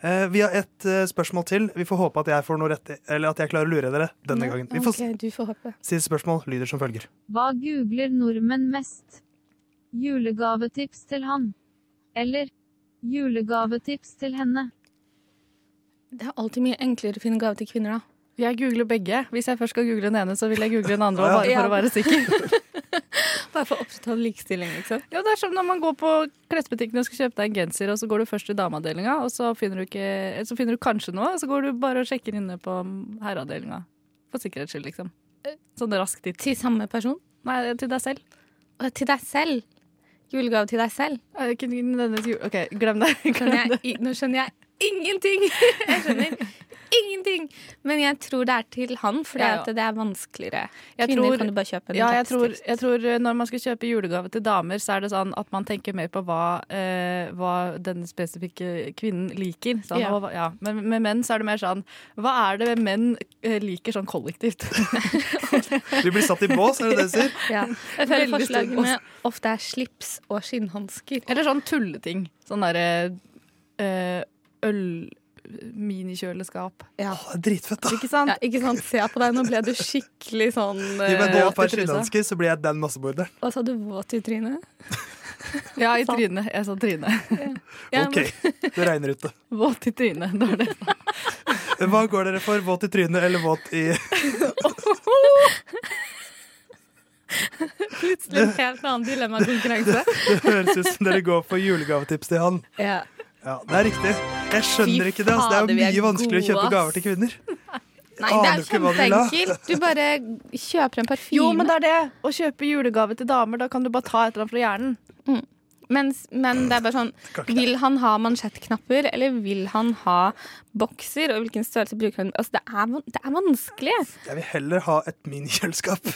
Speaker 9: Eh, vi har ett eh, spørsmål til. Vi får håpe at jeg, får noe rett, i- eller at jeg klarer å lure dere denne gangen. Vi får, s-
Speaker 8: Ok, du får håpe.
Speaker 9: Siste spørsmål lyder som følger.
Speaker 11: Hva googler nordmenn mest? Julegavetips til han. Eller julegavetips til henne.
Speaker 8: Det er alltid mye enklere å finne gave til kvinner, da.
Speaker 10: Jeg googler begge. Hvis jeg først skal google den ene, så vil jeg google den
Speaker 9: <laughs>
Speaker 10: andre. også, Bare for å være sikker.
Speaker 8: <laughs> Bare for å opprettholde likestilling, liksom.
Speaker 10: Ja, det er som når man går på klesbutikken og skal kjøpe deg en genser, og så går du først i dameavdelinga, og så finner, du ikke, så finner du kanskje noe, og så går du bare og sjekker inne på herreavdelinga. For sikkerhets skyld, liksom.
Speaker 8: Eh.
Speaker 10: Sånn raskt dit.
Speaker 8: Til samme person?
Speaker 10: Nei, til deg selv.
Speaker 8: Og til deg selv. Julegave til deg selv.
Speaker 10: Eh, ikke nødvendigvis jul- OK, glem det. Glem
Speaker 8: Skjønner
Speaker 10: det.
Speaker 8: jeg, i- nå skjønner jeg ingenting! <laughs> Jeg skjønner ingenting! Men jeg tror det er til han, for
Speaker 10: Ja, ja.
Speaker 8: det er vanskeligere.
Speaker 10: Jeg
Speaker 8: Kvinner
Speaker 10: tror-
Speaker 8: kan du bare kjøpe en
Speaker 10: Ja, jeg tror,
Speaker 8: tekst til.
Speaker 10: jeg tror eh, når man skal kjøpe julegave til damer, så er det sånn at man tenker mer på hva, eh, hva den spesifikke kvinnen liker. Sånn,
Speaker 8: Ja.
Speaker 10: og hva- ja. Men med menn så er det mer sånn Hva er det menn eh, liker sånn kollektivt?
Speaker 9: Vi blir satt i bås, er det det du sier?
Speaker 10: <laughs>
Speaker 8: Ja. Jeg føler
Speaker 10: Veldig stor
Speaker 8: forslagene ofte er slips og skinnhansker.
Speaker 10: Eller sånn tulleting. Sånn derre eh, øl... Minikjøleskap.
Speaker 8: Ja.
Speaker 9: Å, Ah, det er dritfett, da.
Speaker 10: Ikke sant?
Speaker 8: Ja, ikke sant? Se på deg, nå ble du skikkelig sånn
Speaker 9: Gi meg nå
Speaker 8: eh,
Speaker 9: et par skinnhansker, så blir jeg den massemorderen.
Speaker 8: Hva sa du, våt i trynet?
Speaker 10: Ja, i trynet. Jeg sa trynet.
Speaker 8: Ja,
Speaker 9: OK, det regner ut det.
Speaker 10: Våt i trynet. Det var det.
Speaker 9: Hva går dere for? Våt i trynet eller våt i
Speaker 8: Plutselig en helt annen dilemmakonkurranse.
Speaker 9: <laughs> Det høres ut som dere går for julegavetips til han.
Speaker 8: Ja.
Speaker 9: Ja, Det er riktig. Jeg skjønner
Speaker 8: Fy
Speaker 9: ikke det. altså. Det er
Speaker 8: fader,
Speaker 9: jo
Speaker 8: vi er
Speaker 9: mye vanskeligere å kjøpe
Speaker 8: gode, ass.
Speaker 9: gaver til kvinner.
Speaker 8: <laughs> Nei, det er sånn
Speaker 9: Aner
Speaker 8: jo
Speaker 9: ikke hva du vil ha.
Speaker 8: kjempeenkelt. Du bare kjøper en parfyme.
Speaker 10: Jo, men det er det. Å kjøpe julegave til damer, da kan du bare ta et eller annet fra hjernen.
Speaker 8: Mm. Mens, men det er bare sånn Vil han ha mansjettknapper, eller vil han ha bokser? Og hvilken størrelse bruker han? Altså, det er, van- det er vanskelig.
Speaker 9: Jeg vil heller ha et minikjøleskap.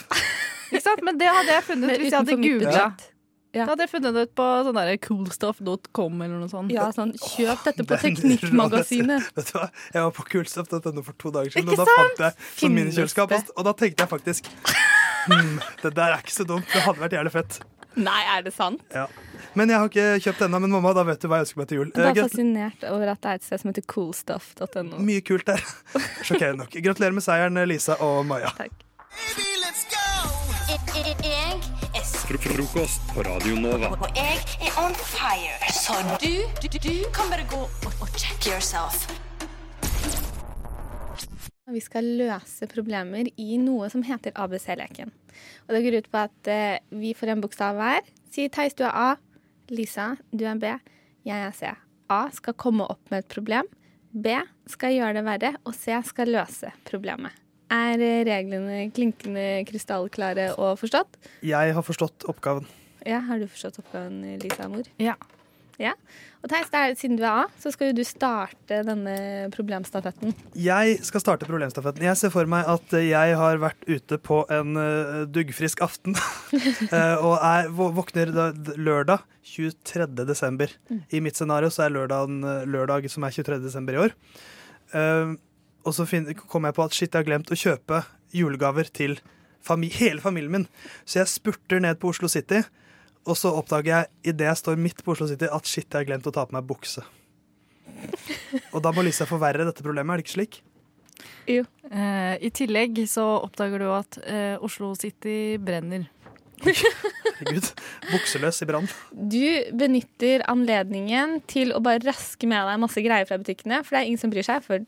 Speaker 10: Ikke sant? Men det hadde jeg funnet
Speaker 8: Men
Speaker 10: ut hvis jeg hadde
Speaker 8: utenfor mitt
Speaker 10: googla.
Speaker 8: budsjett. Ja.
Speaker 10: Da hadde jeg funnet det ut på sånn der coolstuff.com eller noe sånt.
Speaker 8: Ja, sånn, kjøp dette på
Speaker 9: den
Speaker 8: Teknikkmagasinet.
Speaker 9: <laughs> Vet du hva? Jeg var på Kulstoff.no for to dager siden,
Speaker 8: Ikke
Speaker 9: og da fant jeg sånn
Speaker 8: Finnes
Speaker 9: minikjøleskap.
Speaker 8: det?
Speaker 9: Og da tenkte jeg faktisk hmm, Det der er ikke så dumt. Det hadde vært jævlig fett.
Speaker 8: Nei, er det sant?
Speaker 9: Ja. Men jeg har ikke kjøpt det ennå. Men mamma, da vet du hva jeg ønsker meg til jul.
Speaker 8: Jeg
Speaker 9: Eh,
Speaker 8: er bare
Speaker 9: gratul-
Speaker 8: fascinert over at det er et sted som heter coolstuff.no.
Speaker 9: Mye kult
Speaker 8: <laughs>
Speaker 9: der. Sjokkerende nok. Gratulerer med seieren, Lisa og Maja.
Speaker 12: Jeg er sur,
Speaker 1: Frokost på Radio Nova.
Speaker 12: og jeg er on fire. Så du, du, du kan bare gå og, og check yourself.
Speaker 8: Vi skal løse problemer i noe som heter ABC-leken. Og Det går ut på at eh, vi får en bokstav hver. Si Theis, du er A. Lisa, du er B. Jeg er C. A skal komme opp med et problem. B skal gjøre det verre. Og C skal løse problemet. Er eh, reglene klinkende krystallklare og forstått?
Speaker 9: Jeg har forstått oppgaven.
Speaker 8: Ja, Har du forstått oppgaven, Lisa Mor?
Speaker 10: Ja.
Speaker 8: Ja. Og Theis, det er- siden du er A, så skal jo du starte denne problemstafetten.
Speaker 9: Jeg skal starte problemstafetten. Jeg ser for meg at eh, jeg har vært ute på en eh, duggfrisk aften. <laughs> eh, og er, vå- våkner da, d- lørdag 23. desember. I mitt scenario så er lørdagen eh, lørdag som er 23. desember i år. Eh, og så fin- kom jeg på at shit, jeg har glemt å kjøpe julegaver til fami hele familien min. Så jeg spurter ned på Oslo City, og så oppdager jeg idet jeg står midt på Oslo City, at shit, jeg har glemt å ta på meg bukse. Og da må Lisa forverre dette problemet, er det ikke slik?
Speaker 8: Jo.
Speaker 10: Eh, I tillegg så oppdager du at eh, Oslo City brenner.
Speaker 9: Herregud. Bukseløs i brann.
Speaker 8: Du benytter anledningen til å bare raske med deg masse greier fra butikkene, for det er ingen som bryr seg, for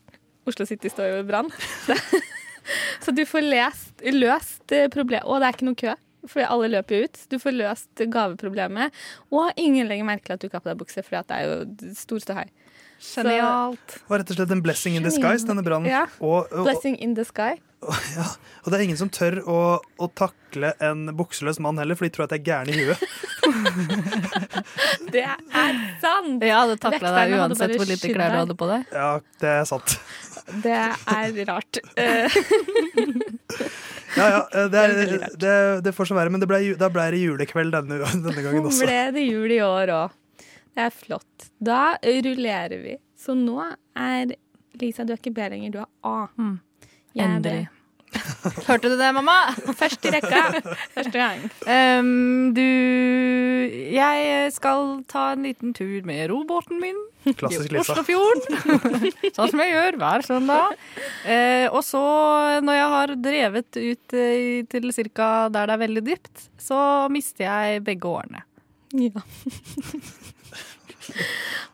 Speaker 8: Oslo City står jo i brann. <laughs> Så du får lest, løst problemet Og det er ikke noe kø, for alle løper jo ut. Du får løst gaveproblemet, og ingen legger merke til at du ikke har på deg bukse, for det er jo stor ståhei. Så-
Speaker 10: Genialt.
Speaker 9: Det var rett og slett en blessing in disguise, denne brannen.
Speaker 8: Ja.
Speaker 9: Og, og,
Speaker 8: Blessing in the sky.
Speaker 9: og det er ingen som tør å, å takle en bukseløs mann heller, for de tror at jeg er gæren i
Speaker 10: <laughs>
Speaker 9: huet.
Speaker 8: Det er sant!
Speaker 10: Jeg hadde takla deg
Speaker 8: Vekterne hadde
Speaker 10: uansett
Speaker 8: bare
Speaker 10: hvor lite
Speaker 8: skydd
Speaker 10: klær du
Speaker 8: deg.
Speaker 10: hadde på deg.
Speaker 9: Ja, det er sant.
Speaker 8: Det er rart. Eh,
Speaker 9: Ja, ja, eh, det, er, det, det får så være, men det ble, ju- da ble det julekveld denne, denne gangen
Speaker 8: Så
Speaker 9: også.
Speaker 8: ble det jul i år òg. Det er flott. Da rullerer vi. Så nå er Lisa, du er ikke B lenger, du er A. Jeg er B.
Speaker 10: Mm. Endelig. <laughs> Hørte du det,
Speaker 8: <laughs>
Speaker 10: mamma?
Speaker 8: Først i rekka. <laughs> Første gang.
Speaker 10: Ehm, du Jeg skal ta en liten tur med robåten min.
Speaker 8: Klassisk
Speaker 10: i
Speaker 8: Lisa. <laughs>
Speaker 10: Oslofjorden. sånn som jeg gjør hver søndag. Eh, og så, når jeg har drevet ut eh, til cirka der det er veldig dypt, så mister jeg begge årene.
Speaker 8: Ja. <laughs>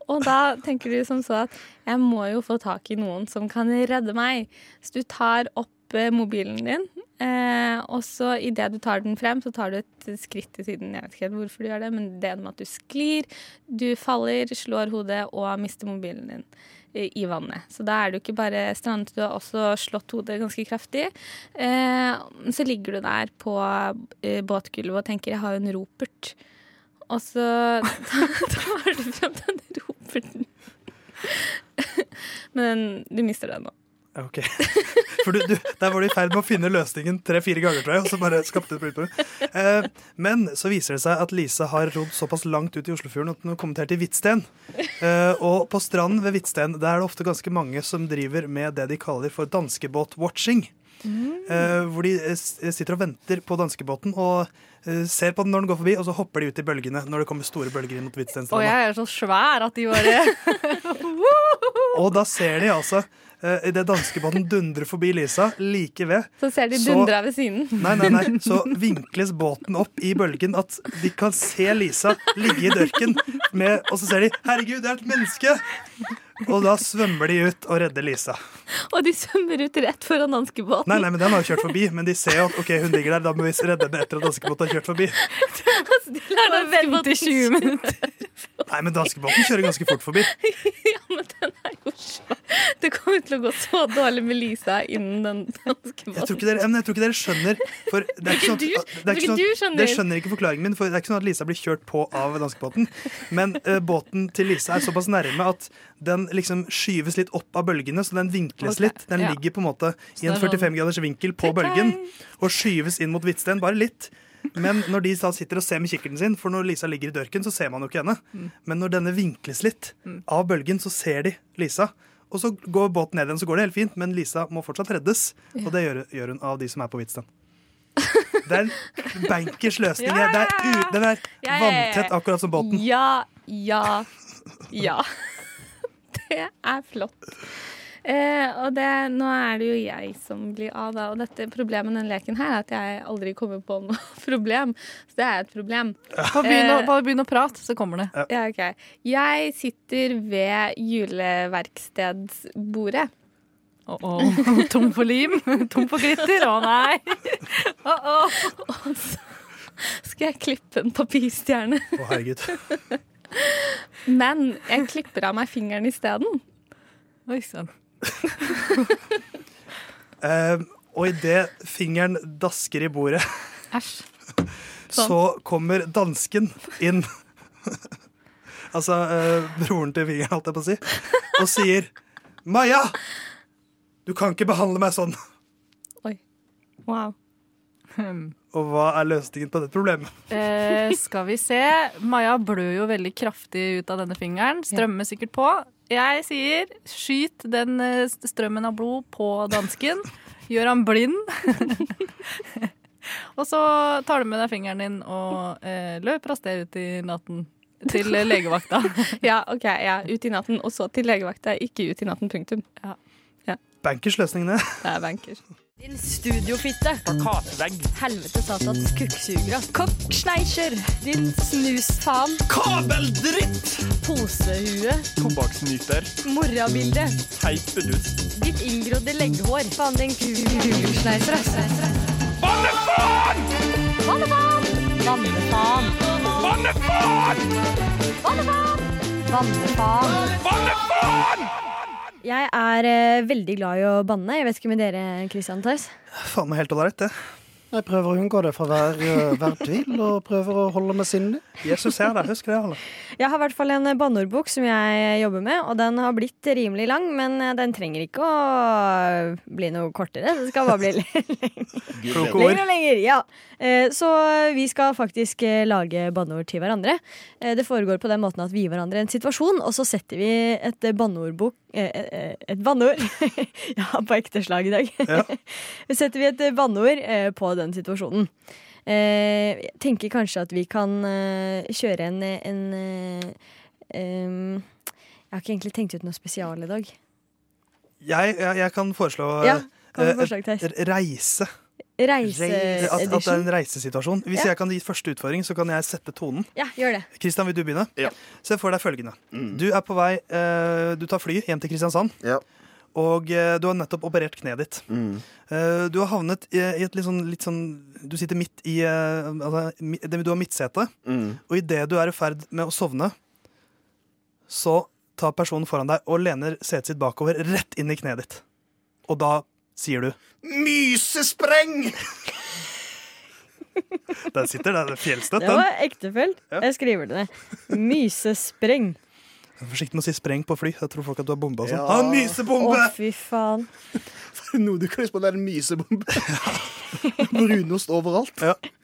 Speaker 8: Og da tenker du som så at jeg må jo få tak i noen som kan redde meg. Så du tar opp eh, mobilen din, eh, og så idet du tar den frem, så tar du et skritt til siden. Jeg vet ikke helt hvorfor du gjør det, men det er med at du sklir, du faller, slår hodet og mister mobilen din eh, i vannet. Så da er du ikke bare strandet, du har også slått hodet ganske kraftig. Eh, så ligger du der på eh, båtgulvet og tenker 'jeg har jo en ropert'. Og så
Speaker 9: <laughs>
Speaker 8: tar tar du frem den roperten. <laughs> Men du mister den nå.
Speaker 9: Ja, Ok. <laughs> For du, du, der var du i ferd med å finne løsningen tre-fire ganger, tror jeg. Og så bare skapte du et problem. Eh, men så viser det seg at Lisa har rodd såpass langt ut i Oslofjorden at hun har kommet her til Hvitsten. Eh, og på stranden ved Hvitsten der er det ofte ganske mange som driver med det de kaller for danskebåtwatching.
Speaker 4: Mm.
Speaker 9: Eh, hvor de eh, s- sitter og venter på danskebåten og eh, ser på den når den går forbi, og så hopper de ut i bølgene når det kommer store bølger inn mot
Speaker 10: Og
Speaker 9: Hvitstenstranda.
Speaker 10: jeg er så svær at de bare
Speaker 8: <laughs>
Speaker 10: <laughs>
Speaker 9: Og da ser de altså eh, idet danskebåten dundrer forbi Lisa, like ved
Speaker 8: Så ser de
Speaker 9: Så-
Speaker 8: dundra ved siden.
Speaker 9: Nei, nei, nei. Så vinkles båten opp i bølgen at de kan se Lisa ligge i dørken, med, og så ser de 'herregud, det er et menneske'! Og da svømmer de ut og redder Lisa.
Speaker 8: <laughs> Og de svømmer ut rett foran danskebåten.
Speaker 9: Nei, nei, men Den har jo kjørt forbi, men de ser jo at ok, hun ligger der, da må vi redde henne etter at danskebåten har kjørt forbi.
Speaker 8: Altså, <laughs> de lar den vente i 20 minutter.
Speaker 9: Nei, men danskebåten kjører ganske fort forbi.
Speaker 8: ja, men den er jo svær. Det kommer til å gå så dårlig med Lisa innen den danskebåten.
Speaker 9: Jeg tror ikke dere, ja, men jeg tror ikke dere skjønner for det er ikke
Speaker 1: <laughs>
Speaker 9: sånn,
Speaker 8: Tror ikke
Speaker 9: at-
Speaker 8: du-
Speaker 9: det er
Speaker 8: tror ikke
Speaker 9: ikke sånn,
Speaker 8: du
Speaker 9: at-
Speaker 8: skjønner.
Speaker 9: Dere skjønner ikke forklaringen min, for det er ikke sånn at Lisa blir kjørt på av danskebåten. Men eh, båten til Lisa er såpass nærme at den liksom skyves litt opp av bølgene, så den vinkles
Speaker 1: Ok,
Speaker 9: litt. Den
Speaker 1: ja.
Speaker 9: ligger på en måte i en
Speaker 1: Så det er sånn-
Speaker 9: 45 graders vinkel på bølgen og skyves inn mot Hvitsten, bare litt. Men når de da sitter og ser med kikkerten sin, for når Lisa ligger i dørken, så ser man jo ikke henne.
Speaker 1: Mm.
Speaker 9: Men når denne vinkles litt
Speaker 8: Mm.
Speaker 9: av bølgen, så ser de Lisa. Og så går båten ned igjen, så går det helt fint, men Lisa må fortsatt reddes. Og det gjør, gjør hun av de som er
Speaker 8: <laughs>
Speaker 9: på Hvitsten. Det er en bankers løsning.
Speaker 8: Ja,
Speaker 9: Det er u, den er
Speaker 8: Ja, ja, ja, ja.
Speaker 9: vanntett, akkurat som båten.
Speaker 8: Ja, ja, ja. <laughs> Det er flott. Eh, og det, nå er det jo jeg som blir A, da. Og dette problemet med denne leken her er at jeg aldri kommer på noe <laughs> problem. Så det er et problem.
Speaker 10: Bare begynn å-
Speaker 8: Eh,
Speaker 10: bare begynn å prate, så kommer det.
Speaker 8: ja, ok. Jeg sitter ved juleverkstedsbordet. <laughs>
Speaker 10: Å, tom for lim, <laughs> tom for glitter. Å nei!
Speaker 8: Og så skal jeg klippe en papirstjerne.
Speaker 9: Å, herregud.
Speaker 8: Men jeg klipper av meg fingeren isteden.
Speaker 10: Oi sånn. sann.
Speaker 9: Um, og idet fingeren dasker i bordet,
Speaker 10: Æsj.
Speaker 9: <laughs> så kommer dansken inn. <laughs> altså eh, broren til fingeren, holdt jeg på å si. Og sier Maja! Du kan ikke behandle meg sånn.
Speaker 8: Wow.
Speaker 9: Og hva er løsningen på dette problemet?
Speaker 10: Eh, skal vi se. Maja blør jo veldig kraftig ut av denne fingeren. Strømmer sikkert på. Jeg sier skyt den eh, st- strømmen av blod på dansken. Gjør han blind. <laughs> og så tar du med deg fingeren din og eh, løper av sted ut i natten. Til eh, legevakta.
Speaker 8: <laughs> ja, OK. Ja, ut i natten, og så til legevakta. Ikke ut i natten, punktum. Ja.
Speaker 9: Bankers løsning, det.
Speaker 8: Det er bankers.
Speaker 5: Din studiofitte.
Speaker 9: Plakatvegg.
Speaker 5: Helvete satans kukksugere. Kokksneisjer. Din snusfaen.
Speaker 3: Kabeldritt!
Speaker 5: Posehue.
Speaker 3: Tobakksnyter.
Speaker 5: Morrabilde.
Speaker 3: Teipedust.
Speaker 5: Ditt inngrodde legghår. Faen din kukksneiser, ass. Vannefaen! Vannefaen. Vannefaen! Vannefaen! Vannefaen.
Speaker 13: Jeg er eh, veldig glad i å banne. Jeg vet ikke med dere, Christian Theis.
Speaker 9: Faen meg helt ålreit, det.
Speaker 13: Jeg prøver å unngå det fra hver, eh, hver tvil, og prøver å holde meg sinnlig.
Speaker 9: Jesus er der, husk det, alle.
Speaker 5: Jeg har i hvert fall en eh, banneordbok som jeg eh, jobber med, og den har blitt rimelig lang, men eh, den trenger ikke å eh, bli noe kortere. Det skal bare bli litt
Speaker 9: Kloke ord.
Speaker 5: lenger og lenger. Ja. Eh, Så vi skal faktisk eh, lage banneord til hverandre. Eh, Det foregår på den måten at vi gir hverandre en situasjon, og så setter vi et eh, banneordbok eh, eh, Et banneord <laughs> Jeg har på ekte slag i dag. <laughs> Så setter vi et eh, banneord eh, på den situasjonen. Eh, jeg tenker kanskje at vi kan eh, kjøre en, en eh, em, Jeg har ikke egentlig tenkt ut noe spesial i dag.
Speaker 9: Jeg, jeg, jeg kan foreslå
Speaker 5: Ja, kom med
Speaker 9: eh,
Speaker 5: forslag, Theis.
Speaker 9: r- reise. At, at det er
Speaker 5: Reiseedition.
Speaker 9: en reisesituasjon. Hvis
Speaker 5: Ja.
Speaker 9: jeg kan gi første utfordring, så kan jeg sette tonen.
Speaker 5: Ja, gjør det.
Speaker 9: Kristian, vil du begynne? Se for deg følgende. Du er på vei eh, Du tar fly hjem til Kristiansand. Og eh, du har nettopp operert kneet ditt.
Speaker 14: Mm.
Speaker 9: Eh, du har havnet i, i et litt sånn, litt sånn Du sitter midt i eh, altså, mi- det- Du har midtsete,
Speaker 14: Mm.
Speaker 9: og idet du er i ferd med å sovne, så tar personen foran deg og lener setet sitt bakover rett inn i kneet ditt. Og da sier du
Speaker 14: Mysespreng!
Speaker 9: Der sitter den fjellstøtt,
Speaker 5: Det var
Speaker 9: den.
Speaker 5: ektefølt. Jeg skriver det ned. Mysespreng.
Speaker 9: Forsiktig med å si 'spreng' på fly. Jeg tror folk at du har bomba <laughs> og sånn.
Speaker 14: Ja.
Speaker 9: Ah, mysebombe!
Speaker 5: Å, fy faen.
Speaker 14: <laughs> Noe du kan lyst på, det er en mysebombe. <laughs> Brunost overalt. Eh,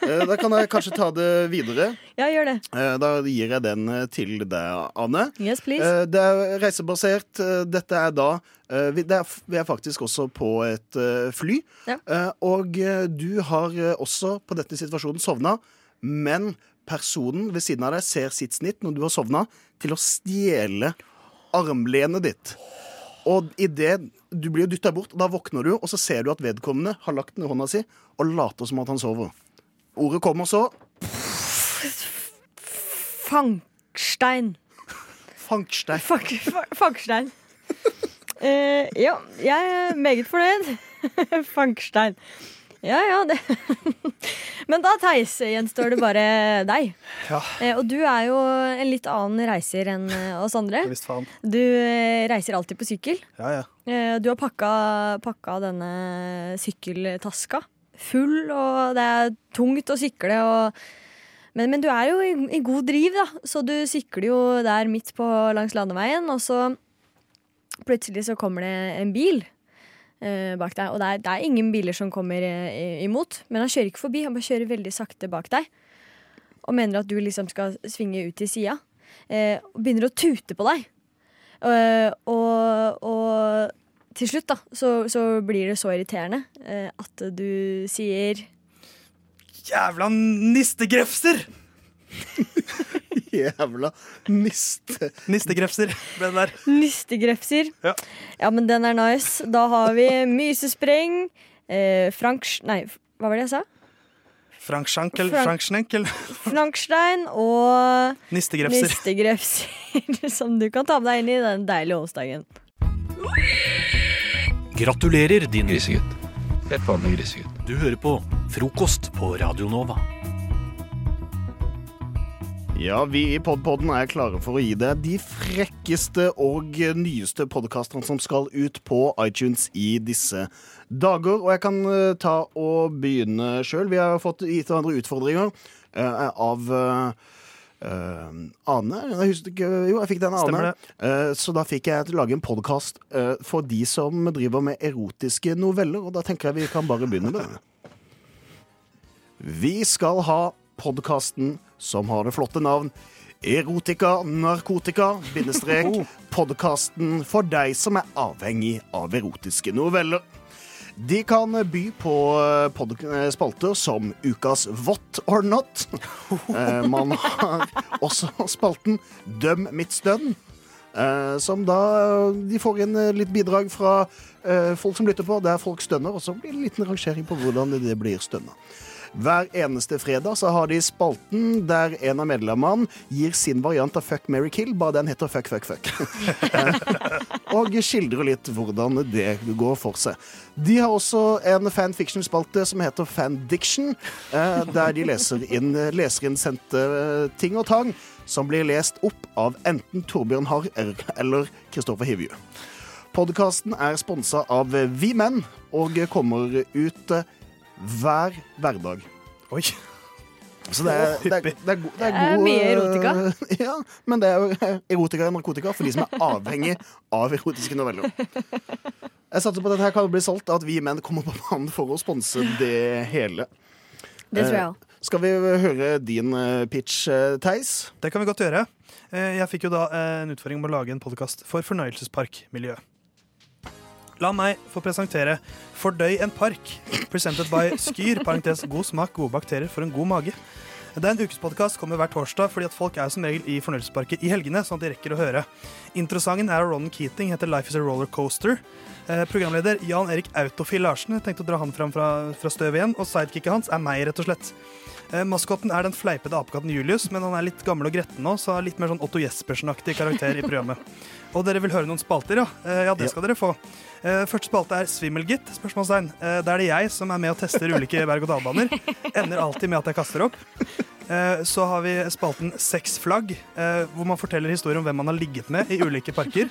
Speaker 14: Da kan jeg kanskje ta det videre.
Speaker 5: Ja, gjør det.
Speaker 14: Eh, Da gir jeg den eh, til deg, Anne.
Speaker 5: Yes, please.
Speaker 14: Eh, Det er reisebasert. Eh, Dette er da eh, vi- det er, f- Vi er faktisk også på et eh, fly. Eh, Og eh, du har eh, også på dette situasjonen sovna, men personen ved siden av deg ser sitt snitt når du har sovna, til å stjele armlenet ditt. Og i det, Du blir jo dytta bort, og da våkner du, og så ser du at vedkommende har lagt ned hånda si og later som at han sover. Ordet kommer så.
Speaker 5: Fankstein.
Speaker 14: Fankstein.
Speaker 5: Fank, fa- fankstein. Eh, ja, jeg er meget fornøyd. <laughs> fankstein. Ja, ja, det <laughs> Men da, Theis, gjenstår det bare deg.
Speaker 9: Ja.
Speaker 5: Eh, og du er jo en litt annen reiser enn eh, oss andre.
Speaker 9: Visst faen.
Speaker 5: Du eh, reiser alltid på sykkel.
Speaker 9: Ja, ja.
Speaker 5: Eh, Du har pakka, pakka denne sykkeltaska full, og det er tungt å sykle. Og, men, men du er jo i, i god driv, da, så du sykler jo der midt på langs landeveien, og så plutselig så kommer det en bil eh, bak deg. Og det er, det er ingen biler som kommer eh, imot, men han kjører ikke forbi, han bare kjører veldig sakte bak deg. Og mener at du liksom skal svinge ut til sida. Eh, og begynner å tute på deg. Eh, og, og til slutt da, så, så blir det så irriterende eh, at du sier
Speaker 9: Jævla nistegrefser!
Speaker 14: <laughs> Jævla niste...
Speaker 9: Nistegrefser ble det der.
Speaker 5: Nistegrefser.
Speaker 9: Ja.
Speaker 5: men den er nice. Da har vi mysespreng. Eh, Franks... Nei, hva var det jeg sa?
Speaker 9: Frank Schankel,
Speaker 5: Frank-
Speaker 9: Frank Schenkel.
Speaker 5: Frankstein og
Speaker 9: Nistegrefser.
Speaker 5: nistegrefser, <laughs> som du kan ta med deg inn i den deilige onsdagen.
Speaker 1: Gratulerer, din grisegutt. Et vanlig grisegutt. Du hører på Frokost på Radio Nova.
Speaker 14: Ja, vi i Podpodden er klare for å gi deg de frekkeste og nyeste podkastene som skal ut på iTunes i disse dager. Og jeg kan eh, ta og begynne sjøl. Vi har fått gitt hverandre utfordringer eh, av eh, eh, Ane? Jeg husker ikke Jo, jeg fikk den av Ane.
Speaker 9: Stemmer
Speaker 14: Eh, så da fikk jeg til å lage en podkast for de som driver med erotiske noveller, og da tenker jeg vi kan bare begynne med det. Vi skal ha podkasten som har det flotte navn Erotika, narkotika, bindestrek, podkasten for deg som er avhengig av erotiske noveller. De kan by på eh, pod- eh, spalter som Ukas What or Not. Eh, Man har <laughs> også spalten Døm mitt stønn. eh, Som da eh, De får inn eh, litt bidrag fra eh, folk som lytter på, der folk stønner. Og så blir det en liten rangering på hvordan det blir stønna. Hver eneste fredag så har de spalten der en av medlemmene gir sin variant av Fuck, marry, kill, bare den heter Fuck, fuck, <laughs> fuck. Eh, og skildrer litt hvordan det går for seg. De har også en fanfiction-spalte som heter Fandiction, eh, der de leser inn leserinnsendte eh, ting og tang som blir lest opp av enten Torbjørn Harr eller Kristoffer Hivju. Podkasten er sponsa av Vi Menn og kommer ut eh, hver hverdag.
Speaker 9: Oi.
Speaker 14: Så det er, det er, det er, go- det er,
Speaker 5: Det er
Speaker 14: god,
Speaker 5: mye
Speaker 14: eh,
Speaker 5: erotika.
Speaker 14: <laughs> Ja, men det er jo erotika og narkotika for de som er avhengig av erotiske noveller. Jeg satser på at dette her kan bli solgt, at vi menn kommer på banen for å sponse det hele.
Speaker 9: Det tror jeg
Speaker 14: Eh,
Speaker 9: også.
Speaker 14: Skal vi høre din eh, pitch, eh, Theis?
Speaker 9: Det kan vi godt gjøre. Eh, Jeg fikk jo da eh, en utfordring med å lage en podkast for fornøyelsesparkmiljø. La meg få presentere Fordøy en park, presented by Skyr, parentes god smak, gode bakterier for en god mage. Det er en ukespodkast, kommer hver torsdag, fordi at folk er som regel i fornøyelsesparker i helgene, sånn at de rekker å høre. Introsangen er av Ron Keating, heter Life is a Roller Coaster. Eh, programleder Jan Erik Autofil Larsen, jeg tenkte å dra han fram fra, fra støvet igjen, og sidekicket hans er meg, rett og slett. Eh, Maskotten er den fleipete apekatten Julius, men han er litt gammel og gretten nå, så har litt mer sånn Otto Jespersen-aktig karakter i programmet. Og dere vil høre noen spalter, ja? Eh, Ja, det skal dere få. Eh, Første spalte er Svimmelgitt? spørsmålstegn. Eh, Da er det jeg som er med og tester ulike berg-og-dal-baner. Ender alltid med at jeg kaster opp. Eh, Så har vi spalten Seks flagg, eh, hvor man forteller historier om hvem man har ligget med i ulike parker.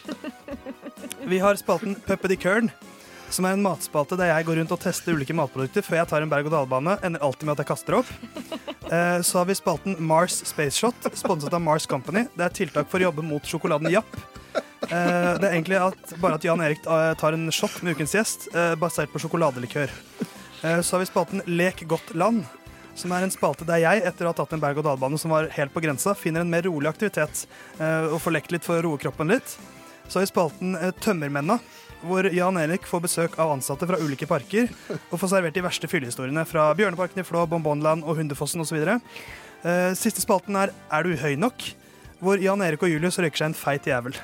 Speaker 9: Vi har spalten Puppe de Kørn, som er en matspalte der jeg går rundt og tester ulike matprodukter før jeg tar en berg-og-dal-bane. Ender alltid med at jeg kaster opp. Eh, Så har vi spalten Mars Space Shot, sponset av Mars Company. Det er tiltak for å jobbe mot sjokoladen Japp. Eh, Det er egentlig at, bare at Jan Erik eh, tar en shot med ukens gjest, eh, basert på sjokoladelikør. Eh, Så har vi spalten Lek godt land, som er en spalte der jeg, etter å ha tatt en berg-og-dal-bane som var helt på grensa, finner en mer rolig aktivitet eh, og får lekt litt for å roe kroppen litt. Så har vi spalten eh, Tømmermenna, hvor Jan Erik får besøk av ansatte fra ulike parker og får servert de verste fyllehistoriene fra Bjørneparken i Flå, Bonbonland og Hundefossen osv. Eh, Siste spalten er Er du høy nok? Hvor Jan Erik og Julius røyker seg en feit jævel.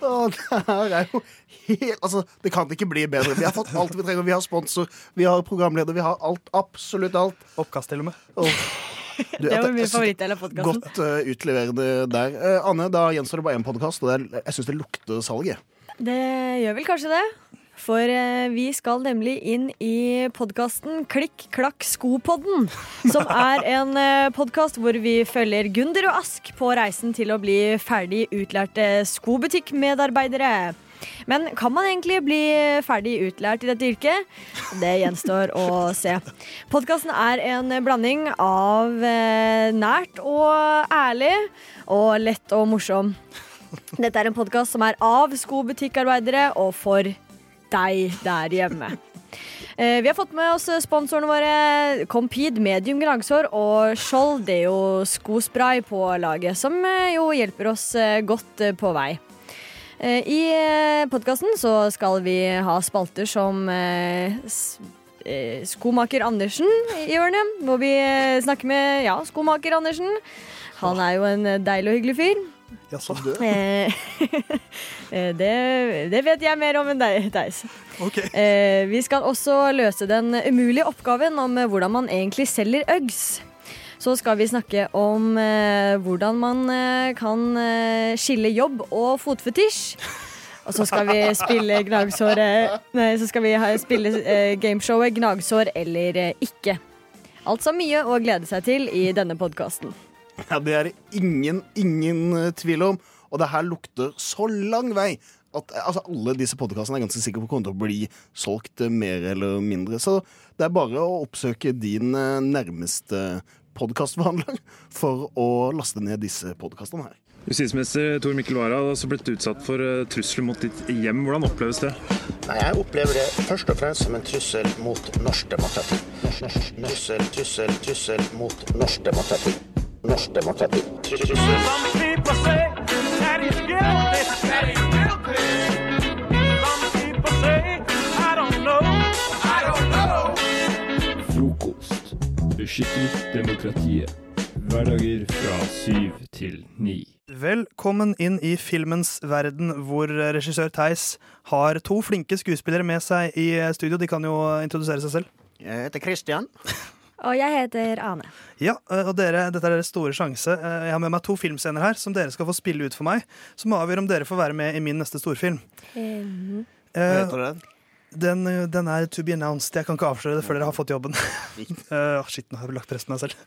Speaker 14: Å, det her er jo helt Altså, det kan ikke bli bedre. Vi har fått alt vi trenger. Vi har sponsor, vi har programleder, vi har alt. Absolutt alt.
Speaker 9: Oppkast, til og med.
Speaker 14: Du,
Speaker 5: Det
Speaker 14: at
Speaker 5: var min
Speaker 14: jeg synes-
Speaker 5: favorittdel av podkasten.
Speaker 14: Godt eh, utleverende der. Eh, Anne, da gjenstår det bare én podkast, og det er, jeg syns det lukter salg. jeg.
Speaker 5: Det gjør vel kanskje det. For eh, vi skal nemlig inn i podkasten Klikk klakk skopodden. Som er en eh, podkast hvor vi følger Gunder og Ask på reisen til å bli ferdig utlærte skobutikkmedarbeidere. Men kan man egentlig bli ferdig utlært i dette yrket? Det gjenstår å se. Podkasten er en blanding av eh, nært og ærlig og lett og morsom. Dette er en podkast som er av skobutikkarbeidere og for deg der hjemme. Eh, Vi har fått med oss sponsorene våre Compede Medium Gnagsår og Skjold Deo Skospray på laget, som eh, jo hjelper oss eh, godt eh, på vei. Eh, I podkasten så skal vi ha spalter som eh, s- eh, Skomaker Andersen i hjørnet, hvor vi eh, snakker med ja, skomaker Andersen. Han er jo en eh, deilig og hyggelig fyr.
Speaker 9: Jaså?
Speaker 5: Eh, <laughs> eh, det, det vet jeg mer om enn deg, Theis. Eh, vi skal også løse den umulige oppgaven om eh, hvordan man egentlig selger Uggs. Så skal vi snakke om eh, hvordan man eh, kan eh, skille jobb og fotfetisj. Og så skal vi spille gnagsåret Nei, så skal vi ha, spille eh, gameshowet Gnagsår eller eh, ikke. Altså mye å glede seg til i denne podkasten.
Speaker 14: Ja, det er det ingen, ingen eh, tvil om. Og det her lukter så lang vei at eh, altså, alle disse podkastene er ganske sikre på kommer til å bli solgt eh, mer eller mindre. Så det er bare å oppsøke din eh, nærmeste podkastbehandler <laughs> for å laste ned disse podkastene her.
Speaker 15: Justisminister Tor Mikkel Wara har også blitt utsatt for eh, trusler mot ditt hjem. Hvordan oppleves det?
Speaker 16: Nei, Jeg opplever det først og fremst som en trussel mot norsk demokrati. Norsk- norsk- Trussel, trussel, trussel mot norsk demokrati. Norsk demokrati. Tru- Trussel.
Speaker 17: Frokost. Beskytter demokratiet. Hverdager fra syv til ni.
Speaker 9: Velkommen inn i filmens verden, hvor eh, regissør Theis har to flinke skuespillere med seg i eh, studio. De kan jo introdusere seg selv.
Speaker 14: Jeg heter Christian.
Speaker 5: Og jeg heter Ane.
Speaker 9: Ja, eh, og dere, Dette er deres store sjanse. Eh, Jeg har med meg to filmscener her som dere skal få spille ut for meg. Som avgjør om dere får være med i min neste storfilm.
Speaker 5: Eh,
Speaker 9: Eh,
Speaker 14: heter den?
Speaker 9: Den, eh, den er to be announced. Jeg kan ikke avsløre det før dere har fått jobben. <laughs> Eh, shit, nå har jeg lagt press på meg selv. <laughs>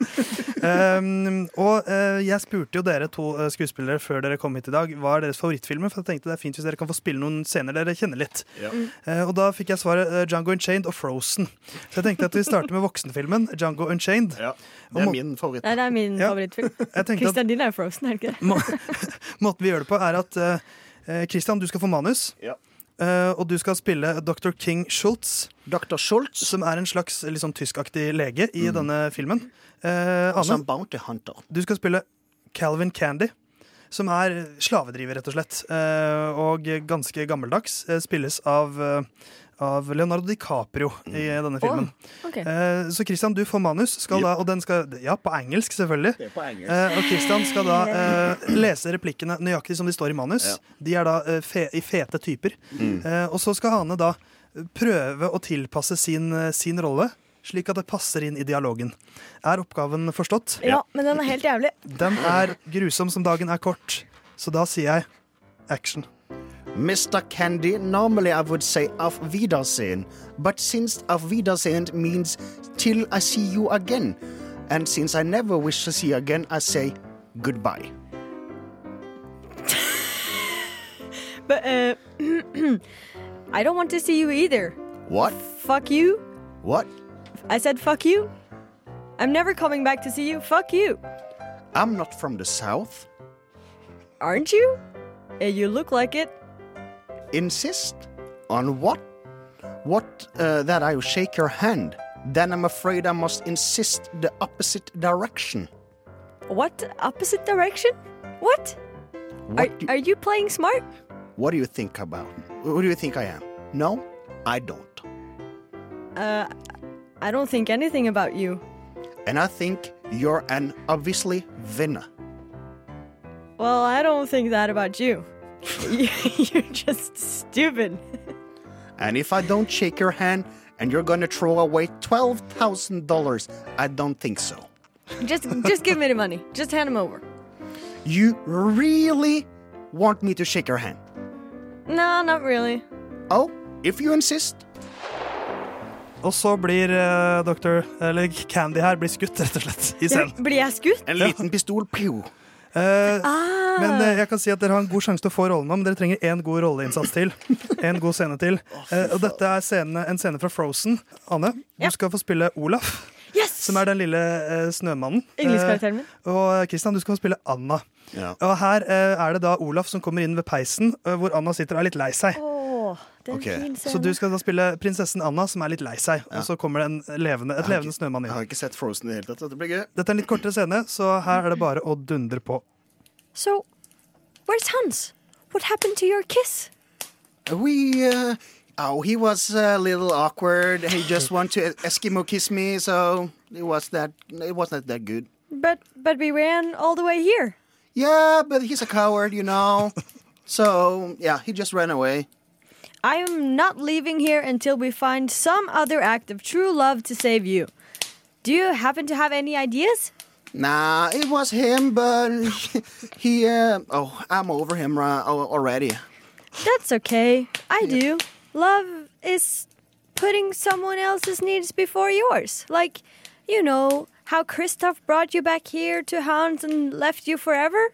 Speaker 9: Um, og eh, jeg spurte jo dere to eh, skuespillere før dere kom hit i dag hva er deres favorittfilmer. For jeg tenkte det er fint hvis dere kan få spille noen scener dere kjenner litt.
Speaker 18: Ja. Mm.
Speaker 9: Eh, og da fikk jeg svaret uh, Django Unchained og Frozen. Så jeg tenkte at vi starter med voksenfilmen Django Unchained.
Speaker 14: det er min favoritt.
Speaker 5: Nei, det er min favorittfilm.
Speaker 9: Jeg tenkte at
Speaker 5: Christian, din er jo Frozen, er det ikke det?
Speaker 9: <laughs> må, måten vi gjør det på, er at eh, eh, Christian, du skal få manus. Eh, og du skal spille Dr. King Schultz.
Speaker 14: Dr. Schultz
Speaker 9: Som er en slags litt sånn tyskaktig lege i
Speaker 14: Mm.
Speaker 9: denne filmen. Eh,
Speaker 14: Som
Speaker 9: Anne,
Speaker 14: Bounty Hunter.
Speaker 9: du skal spille Calvin Candy. Som er slavedriver, rett og slett. eh, og ganske gammeldags. eh, spilles av, eh, av Leonardo DiCaprio i
Speaker 5: Mm.
Speaker 9: denne filmen. Eh, så Christian, du får manus, skal da, og den skal Ja, på engelsk, selvfølgelig.
Speaker 18: Det er på engelsk.
Speaker 9: Eh, og Christian skal da eh, lese replikkene nøyaktig som de står i manus. De er da eh, fe i fete typer.
Speaker 18: Mm.
Speaker 9: Eh, og så skal Ane da prøve å tilpasse sin, eh, sin rolle. Slik at det passer inn i dialogen. Er oppgaven forstått?
Speaker 5: Ja, men den er helt jævlig.
Speaker 9: Den er grusom som dagen er kort, så da sier jeg action.
Speaker 14: Mr. Candy, normally I would say Auf Wiedersehen, but since Auf Wiedersehen means till I see you again, and since I never wish to see you again, I say goodbye.
Speaker 5: But, eh, <clears throat> I don't want to see you either.
Speaker 14: What?
Speaker 5: Fuck you.
Speaker 14: What?
Speaker 5: I said fuck you. I'm never coming back to see you. Fuck you.
Speaker 14: I'm not from the South.
Speaker 5: Aren't you? Eh, you look like it.
Speaker 14: Insist on what? What uh, that I shake your hand? Then I'm afraid I must insist the opposite direction.
Speaker 5: What? Opposite direction? What? Are, are you playing smart?
Speaker 14: What do you think about? Who do you think I am? No, I don't.
Speaker 5: Uh, I don't think anything about you.
Speaker 14: And I think you're an obviously winner.
Speaker 5: Well, I don't think that about you. <laughs> You're just stupid.
Speaker 14: And if I don't shake your hand and you're gonna throw away $12,000, I don't think so.
Speaker 5: Just, just give me the money. Just hand him over.
Speaker 14: You really want me to shake your hand?
Speaker 5: No, not really.
Speaker 14: Oh, if you insist.
Speaker 9: Og så blir eh, doktor, eller Candy her, blir skutt, rett og slett, i scenen.
Speaker 5: Blir jeg skutt?
Speaker 14: En liten pistol, pjo.
Speaker 9: Men eh, jeg kan si at dere har en god sjanse til å få rollen nå, men dere trenger én god rolleinnsats til. En god scene til. Eh, og dette er scene, en scene fra Frozen. Anne, du skal få spille Olaf. Som er den lille eh, snømannen.
Speaker 5: Yndlingskarakteren min.
Speaker 9: Eh, og Christian, du skal få spille Anna. Og her eh, er det da Olaf som kommer inn ved peisen, eh, hvor Anna sitter og er litt lei seg.
Speaker 5: Åh, det er en
Speaker 9: Ok.
Speaker 5: fin
Speaker 9: Så
Speaker 5: scene.
Speaker 9: du skal da spille prinsessen Anna, som er litt lei seg. Og så kommer det en levende, et levende snømann inn.
Speaker 14: Jeg har ikke sett Frozen i det hele tatt. Dette blir gøy.
Speaker 9: Dette er en litt kortere scene, så her er det bare å dundre på.
Speaker 5: So, where's Hans? What happened to your kiss?
Speaker 14: We, uh, oh, he was a little awkward. He just wanted to Eskimo kiss me, so it was that, it wasn't that good.
Speaker 5: But, but we ran all the way here.
Speaker 14: Yeah, but he's a coward, you
Speaker 5: <laughs>
Speaker 14: know. so, yeah, he just ran away.
Speaker 5: I am not leaving here until we find some other act of true love to save you. Do you happen to have any ideas?
Speaker 14: Nah, it was him, but <laughs> he. Uh, oh, I'm over him right, already.
Speaker 5: That's okay. I do. Love is putting someone else's needs before yours. Like, you know, how Kristoff brought you back here to Hans and left you forever?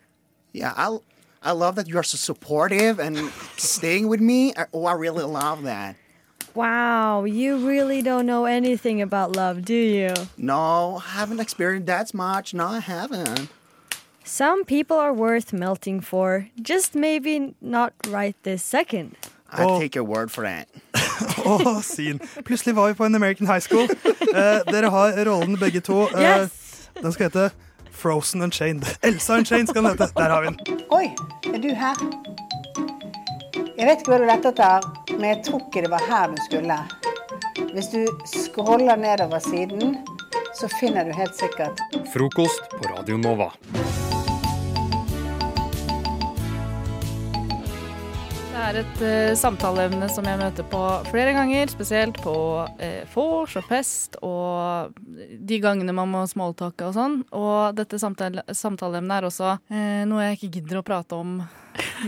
Speaker 14: Yeah, I, I love that you are so supportive and staying with me. Oh, I really love that.
Speaker 5: Wow, you really don't know anything about love, do you?
Speaker 14: No, I haven't experienced that much. No, I haven't.
Speaker 5: Some people are worth melting for, just maybe not right this second.
Speaker 14: I take your word for it.
Speaker 9: Åh, sin. Plutselig var vi på en American High School. Eh, dere har rollen begge to. Eh, Den skal hete Frozen Unchained. Elsa Unchained skal den hete. Der har vi den.
Speaker 19: Oi, er du her? Jeg vet ikke hva du lette etter, men jeg tror ikke det var her du skulle. Hvis du scroller nedover siden, så finner du helt sikkert
Speaker 7: Frokost på Radio Nova.
Speaker 10: Det Det er et eh, samtaleemne som jeg møter på flere ganger, spesielt på eh, vors og fest og de gangene man må smalltalke og sånn. Og dette samtale samtaleemnet er også eh, noe jeg ikke gidder å prate om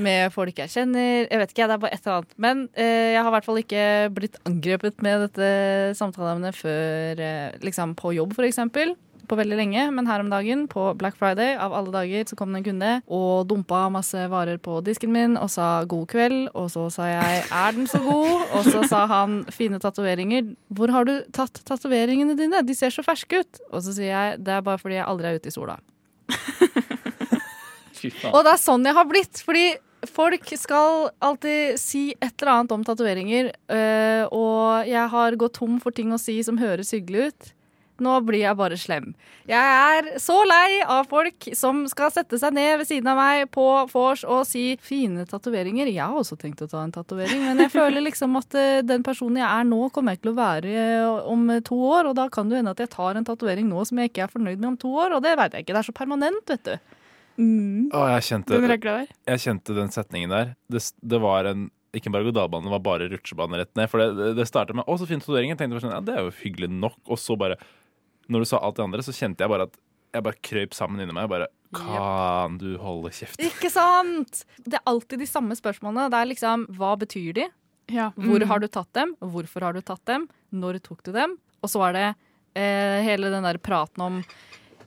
Speaker 10: med folk jeg kjenner. Jeg vet ikke, det er bare et eller annet. Men eh, jeg har i hvert fall ikke blitt angrepet med dette samtaleemnet før eh, liksom på jobb, for eksempel på veldig lenge, men her om dagen, på Black Friday, av alle dager, så kom det en kunde og dumpa masse varer på disken min og sa 'god kveld', og så sa jeg 'er den så god', og så sa han 'fine tatoveringer', 'hvor har du tatt tatoveringene dine, de ser så ferske ut', og så sier jeg 'det er bare fordi jeg aldri er ute i sola'. Og det er sånn jeg har blitt, fordi folk skal alltid si et eller annet om tatoveringer, øh, og jeg har gått tom for ting å si som høres hyggelig ut. Nå blir jeg bare slem. Jeg er så lei av folk som skal sette seg ned ved siden av meg på vors og si 'fine tatoveringer'. Jeg har også tenkt å ta en tatovering, men jeg føler liksom at øh, den personen jeg er nå, kommer jeg til å være øh, om to år, og da kan det jo hende at jeg tar en tatovering nå som jeg ikke er fornøyd med om to år, og det veit jeg ikke. Det er så permanent, vet du.
Speaker 18: Mm. Å, jeg kjente,
Speaker 10: Den regla der.
Speaker 18: Jeg kjente den setningen der. Det, s- det var en ikke en berg-og-dal-bane, det var bare rutsjebane rett ned. For det, det- det startet med 'Å, så fine tatoveringer'. Tenkte jeg bare sånn, ja, det er jo hyggelig nok. Og så bare, når du sa alt det andre, så kjente jeg bare at jeg bare krøp sammen inni meg. Bare Kan du holde kjeft?
Speaker 10: Ikke sant? Det er alltid de samme spørsmålene. Det er liksom hva betyr de? Hvor
Speaker 8: Mm.
Speaker 10: har du tatt dem? Hvorfor har du tatt dem? Når tok du dem? Og så er det eh, hele den der praten om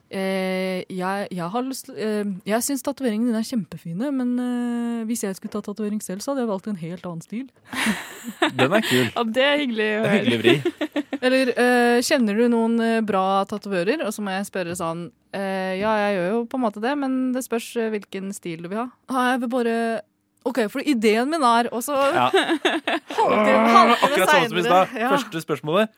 Speaker 10: eh, jeg, jeg, har lyst, eh, jeg syns tatoveringene dine er kjempefine, men eh, hvis jeg skulle tatt tatovering selv, så hadde jeg valgt en helt annen stil.
Speaker 18: Den er kul.
Speaker 10: Ja, det er hyggelig å
Speaker 18: Det er hyggelig vri.
Speaker 10: Eller eh, kjenner du noen eh, bra tatoverer? Og så må jeg spørre sånn eh, Ja, jeg gjør jo på en måte det, men det spørs eh, hvilken stil du vil ha. Ja, Ah, jeg vil bare OK, for ideen min er Og så <laughs>
Speaker 18: Ja.
Speaker 10: halvtime
Speaker 18: Akkurat sånn som i stad.
Speaker 10: senere, ja.
Speaker 18: Første spørsmålet,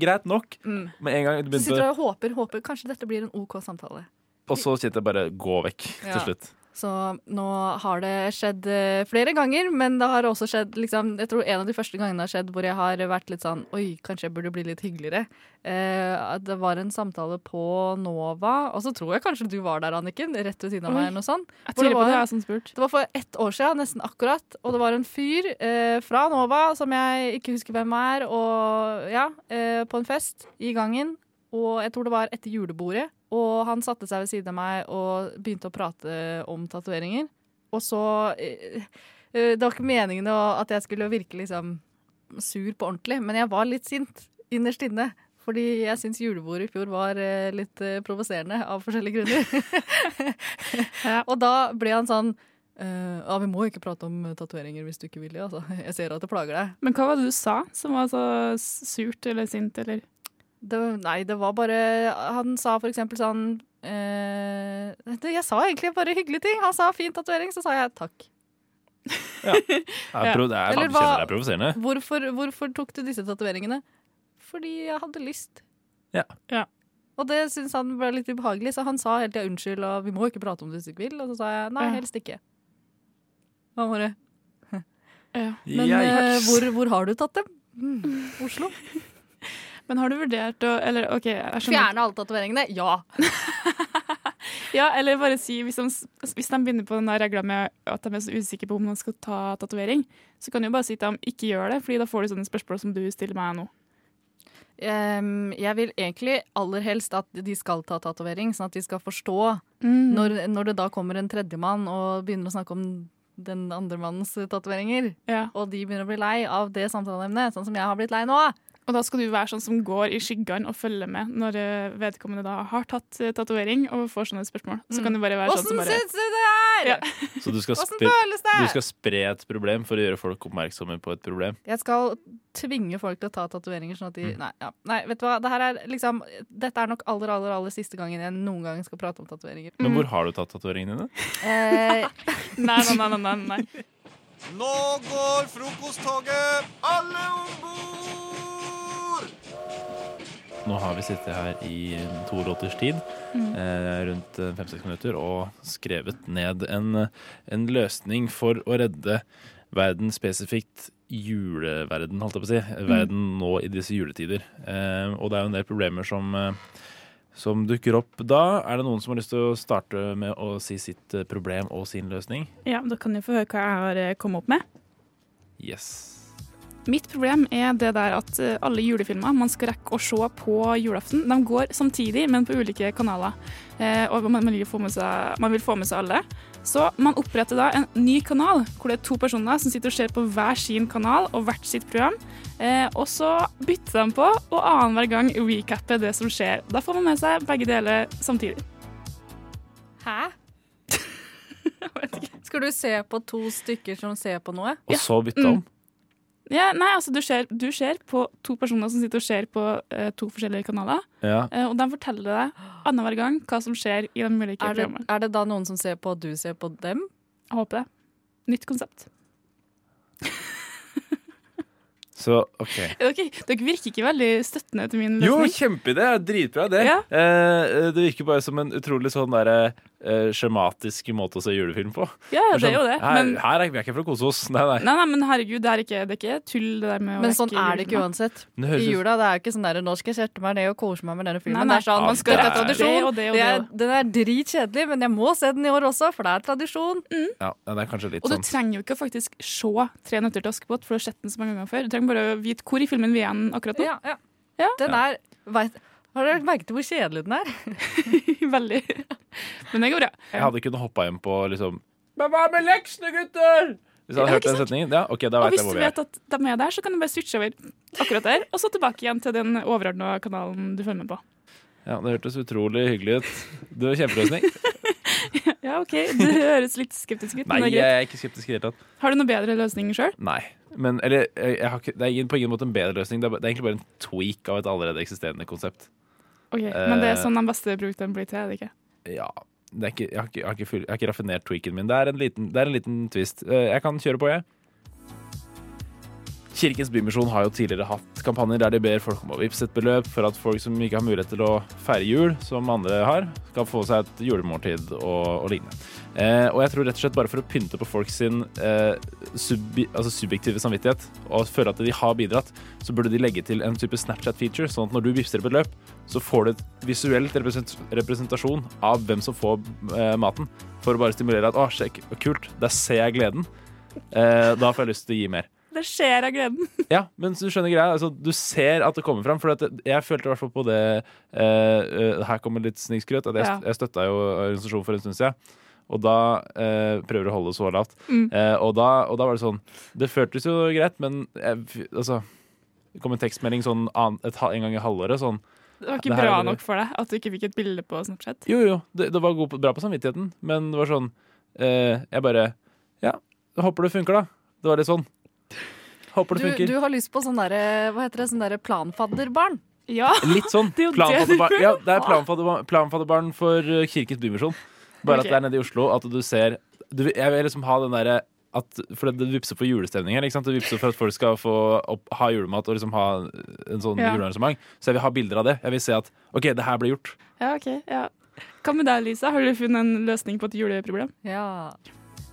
Speaker 18: greit nok.
Speaker 10: Mm.
Speaker 18: Med en gang du
Speaker 10: Så sitter du
Speaker 18: begynte,
Speaker 10: og håper, håper. Kanskje dette blir en OK samtale.
Speaker 18: og så kjente jeg bare 'gå vekk'
Speaker 10: Ja.
Speaker 18: til slutt.
Speaker 10: Så nå har det skjedd eh, flere ganger, men det har også skjedd liksom, Jeg tror en av de første gangene det har skjedd hvor jeg har vært litt sånn Oi, kanskje jeg burde bli litt hyggeligere. Eh, at det var en samtale på Nova, og så tror jeg kanskje du var der, Anniken. Rett ved siden av
Speaker 8: Oi.
Speaker 10: meg eller noe sånt.
Speaker 8: Jeg
Speaker 10: Hvor
Speaker 8: tviler på
Speaker 10: var
Speaker 8: det, jeg
Speaker 10: en-
Speaker 8: har sånn spurt.
Speaker 10: Det var for ett år siden, nesten akkurat. Og det var en fyr eh, fra Nova som jeg ikke husker hvem er, og ja, eh, på en fest i gangen. Og jeg tror det var etter julebordet. Og han satte seg ved siden av meg og begynte å prate om tatoveringer. Og så eh, eh, Det var ikke meningen å- at jeg skulle virke liksom sur på ordentlig, men jeg var litt sint innerst inne. Fordi jeg syns julebordet i fjor var eh, litt eh, provoserende av forskjellige grunner. <laughs> Og da ble han sånn eh, Ja, vi må ikke prate om eh, tatoveringer hvis du ikke vil det, altså. <laughs> Jeg ser at det plager deg.
Speaker 20: Men hva var det du sa som var så surt eller sint, eller?
Speaker 10: Det, nei, det var bare Han sa for eksempel sånn eh, det- Jeg sa egentlig bare hyggelige ting. Han sa fin tatovering, så sa jeg takk.
Speaker 18: Det er, pro- det er,
Speaker 10: Eller
Speaker 18: jeg
Speaker 10: hva-
Speaker 18: kjenner det er provoserende.
Speaker 10: Hvorfor, hvorfor tok du disse tatoveringene? Fordi jeg hadde lyst.
Speaker 18: Ja.
Speaker 10: Og det syntes han ble litt ubehagelig, så han sa hele tida unnskyld og vi må ikke prate om det hvis du ikke vil. Og så sa jeg nei,
Speaker 20: Ja.
Speaker 10: helst ikke. Han bare
Speaker 20: Ja.
Speaker 10: Men eh, hvor, hvor har du Hmm. tatt dem? <laughs> Oslo.
Speaker 20: Men har du vurdert å Eller OK, jeg skjønner.
Speaker 10: Fjerne alle tatoveringene? Ja.
Speaker 20: Ja, eller bare si hvis de, hvis de begynner på den der regla med at de er så usikre på om de skal ta tatovering, så kan du jo bare si til dem ikke gjør det, Fordi da får du sånne spørsmål som du stiller meg nå.
Speaker 10: Ehm, jeg vil egentlig aller helst at de skal ta tatovering, sånn at de skal forstå
Speaker 20: Mm.
Speaker 10: når, når det da kommer en tredjemann og begynner å snakke om den andre mannens tatoveringer, og de begynner å bli lei av det samtaleemnet, sånn som jeg har blitt lei nå.
Speaker 20: Og da skal du være sånn som går i skyggene og følger med når eh, vedkommende da har tatt eh, tatovering og får sånne spørsmål. Så kan du bare være sånn som
Speaker 10: Mm. Åssen
Speaker 20: bare
Speaker 10: syns du det er?!
Speaker 18: Så du skal,
Speaker 10: Hvordan
Speaker 18: spre,
Speaker 10: føles det?
Speaker 18: du skal spre et problem for å gjøre folk oppmerksomme på et problem.
Speaker 10: <laughs> Jeg skal tvinge folk til å ta tatoveringer, sånn at de
Speaker 18: Mm.
Speaker 10: nei, ja. nei, vet du hva. Dette er, liksom, dette er nok aller, aller, aller siste gangen jeg noen gang skal prate om tatoveringer. Mm.
Speaker 18: Men hvor har du tatt tatoveringene dine?
Speaker 10: Eh,
Speaker 20: <laughs> Nei, nei, nei, nei, nei.
Speaker 21: Nå går frokosttoget! Alle om bord!
Speaker 18: Nå har vi sittet her i to låters tid,
Speaker 21: Mm.
Speaker 18: eh, rundt eh, fem-seks minutter, og skrevet ned en, en løsning for å redde verden spesifikt juleverden, holdt jeg på å si. Verden nå i disse juletider. Eh, og det er jo en del problemer som, eh, som dukker opp da. Er det noen som har lyst til å starte med å si sitt eh, problem og sin løsning?
Speaker 20: Ja, da kan du få høre hva jeg har eh, kommet opp med.
Speaker 18: Yes.
Speaker 20: Mitt problem er det der at eh, alle julefilmer man skal rekke å se på julaften, de går samtidig, men på ulike kanaler. Eh, og man, man, vil få med seg, man vil få med seg alle. Så man oppretter da en ny kanal, hvor det er to personer som sitter og ser på hver sin kanal og hvert sitt program. Eh, og så bytter de på, og annenhver gang recapper det som skjer. Da får man med seg begge deler samtidig.
Speaker 10: Hæ? Skal du se på to stykker som ser på noe?
Speaker 18: Og så bytte
Speaker 20: Mm.
Speaker 18: om.
Speaker 20: Ja, nei, altså du ser, du ser på to personer som sitter og ser på eh, to forskjellige kanaler.
Speaker 18: Ja.
Speaker 20: Eh, og de forteller deg annenhver gang hva som skjer i de ulike
Speaker 10: Er det,
Speaker 20: programmene.
Speaker 10: er det da noen som ser på at du ser på dem?
Speaker 20: Jeg håper det. Nytt konsept.
Speaker 18: Så OK.
Speaker 20: Dere, dere virker ikke veldig støttende til min
Speaker 18: Jo,
Speaker 20: løsning.
Speaker 18: kjempeidé! Dritbra idé.
Speaker 20: Ja.
Speaker 18: Eh, det virker bare som en utrolig sånn derre eh, skjematisk måte å se julefilm på.
Speaker 20: Ja, det er
Speaker 18: sånn,
Speaker 20: jo det,
Speaker 18: Her,
Speaker 20: men-
Speaker 18: her er vi ikke for å kose oss. Nei, nei.
Speaker 20: Nei, nei, men herregud, det er ikke, det er ikke tull det der med å
Speaker 10: Men sånn
Speaker 20: rekke
Speaker 10: er det ikke
Speaker 20: julefilmer.
Speaker 10: uansett.
Speaker 18: Det
Speaker 10: I
Speaker 18: høres ut-
Speaker 10: jula det er jo ikke sånn der, nå skal jeg sette meg ned og kose meg med denne
Speaker 20: Nei,
Speaker 10: filmen.
Speaker 20: nei.
Speaker 10: Det er
Speaker 20: Ja,
Speaker 10: sånn, man skal
Speaker 20: det
Speaker 10: etter
Speaker 20: er-
Speaker 10: tradisjon.
Speaker 20: det og det og
Speaker 10: Det er,
Speaker 20: det
Speaker 10: den er dritkjedelig, men jeg må se den i år også, for det er tradisjon.
Speaker 20: Mm.
Speaker 18: Ja, det er kanskje litt
Speaker 20: Og du
Speaker 18: sånn.
Speaker 20: trenger jo ikke å faktisk se Tre nøtter til Askepott, for du har sett den så mange ganger før. Du trenger bare å vite hvor i filmen vi er igjen akkurat nå.
Speaker 10: Ja, ja. Den er vet, Har dere merket hvor kjedelig den er?
Speaker 20: <laughs> Veldig. Men det går bra.
Speaker 18: Jeg hadde kunnet hoppa hjem på liksom
Speaker 20: Men hva med leksene, gutter?
Speaker 18: Hvis jeg
Speaker 20: Ja,
Speaker 18: hadde hørt
Speaker 20: ikke
Speaker 18: den
Speaker 20: sant?
Speaker 18: setningen? Ja, ok, da
Speaker 20: Og
Speaker 18: vet
Speaker 20: hvis
Speaker 18: jeg
Speaker 20: du
Speaker 18: hvor vi er.
Speaker 20: vet at de er der, så kan du bare switche over akkurat der, og så tilbake igjen til den overordna kanalen du følger med på.
Speaker 18: Ja, Det hørtes utrolig hyggelig ut. Det
Speaker 20: <laughs>
Speaker 18: var kjempeløsning.
Speaker 20: <laughs> Ja, OK, du høres litt skeptisk ut,
Speaker 18: Nei,
Speaker 20: men det er
Speaker 18: jeg
Speaker 20: greit.
Speaker 18: er ikke skeptisk i det hele tatt.
Speaker 20: Har du noen bedre løsninger sjøl?
Speaker 18: Nei. Men, eller, jeg jeg har ikke, det er ingen- på ingen måte en bedre løsning. Det er, ba- det er egentlig bare en tweak av et allerede eksisterende konsept.
Speaker 20: Ok, Men det er
Speaker 18: Eh,
Speaker 20: sånn de beste produktene blir til, er det ikke?
Speaker 18: Ja. Det er ikke, jeg, har ikke, jeg, har ikke full, jeg har ikke raffinert tweaken min. Det er en liten, det er en liten twist. Eh, Jeg kan kjøre på, jeg. Kirkens Bymisjon har jo tidligere hatt kampanjer der de ber folk om å vippse et beløp for at folk som ikke har mulighet til å feire jul, som andre har, skal få seg et julemåltid og, og lignende. Eh, og jeg tror rett og slett bare for å pynte på folk sin eh, subi, altså subjektive samvittighet og føle at de har bidratt, så burde de legge til en type Snapchat-feature, sånn at når du vippser et beløp, så får du et visuelt represent representasjon av hvem som får eh, maten, for å bare stimulere at å, sjekk, kult, der ser jeg gleden. Eh, da får jeg lyst til å gi mer.
Speaker 20: Det skjer av gleden.
Speaker 18: Ja, men du skjønner greia. Altså, du ser at det kommer fram. For at det- jeg følte i hvert fall på det eh, eh, Her kommer litt snikskrøt. At jeg,
Speaker 20: Ja.
Speaker 18: jeg støtta jo organisasjonen for en stund siden. Og da eh, prøver å holde det så lavt.
Speaker 20: Mm.
Speaker 18: Eh, og, da, og da var det sånn Det føltes jo greit, men jeg, f- altså Det kom en tekstmelding sånn an, et, ha- en gang i halvåret sånn
Speaker 20: Det var
Speaker 18: "Det
Speaker 20: ikke
Speaker 18: her
Speaker 20: bra
Speaker 18: er-
Speaker 20: nok for deg at du ikke fikk et bilde på sånn Snapchat.
Speaker 18: Jo, jo. Det, det var god på, bra på samvittigheten, men det var sånn eh, Jeg bare Ja, håper det funker, da. Det var litt sånn. Håper
Speaker 10: Du,
Speaker 18: det funker.
Speaker 10: du har lyst på sånn derre, hva heter det, sånn derre planfadderbarn?
Speaker 20: Ja.
Speaker 18: Litt sånn.
Speaker 10: <laughs> Det er jo det du
Speaker 18: Planfadderbarn
Speaker 10: vil
Speaker 18: ja, det er
Speaker 10: ha.
Speaker 18: planfadderbarn, planfadderbarn for uh, Kirkens Bymisjon.
Speaker 10: Ok.
Speaker 18: Bare at det er nede i Oslo. At du ser du, vil- Jeg vil liksom ha den derre at, for det vipser for julestemning her. Ikke sant? Det vipser for at folk skal få opp, ha julemat og liksom ha en sånn
Speaker 20: Ja.
Speaker 18: julearrangement. Så jeg vil ha bilder av det. Jeg vil se at OK, det her ble gjort.
Speaker 20: Ja, ok. Ja. Hva med deg, Lisa? Har du funnet en løsning på et juleproblem?
Speaker 10: Ja.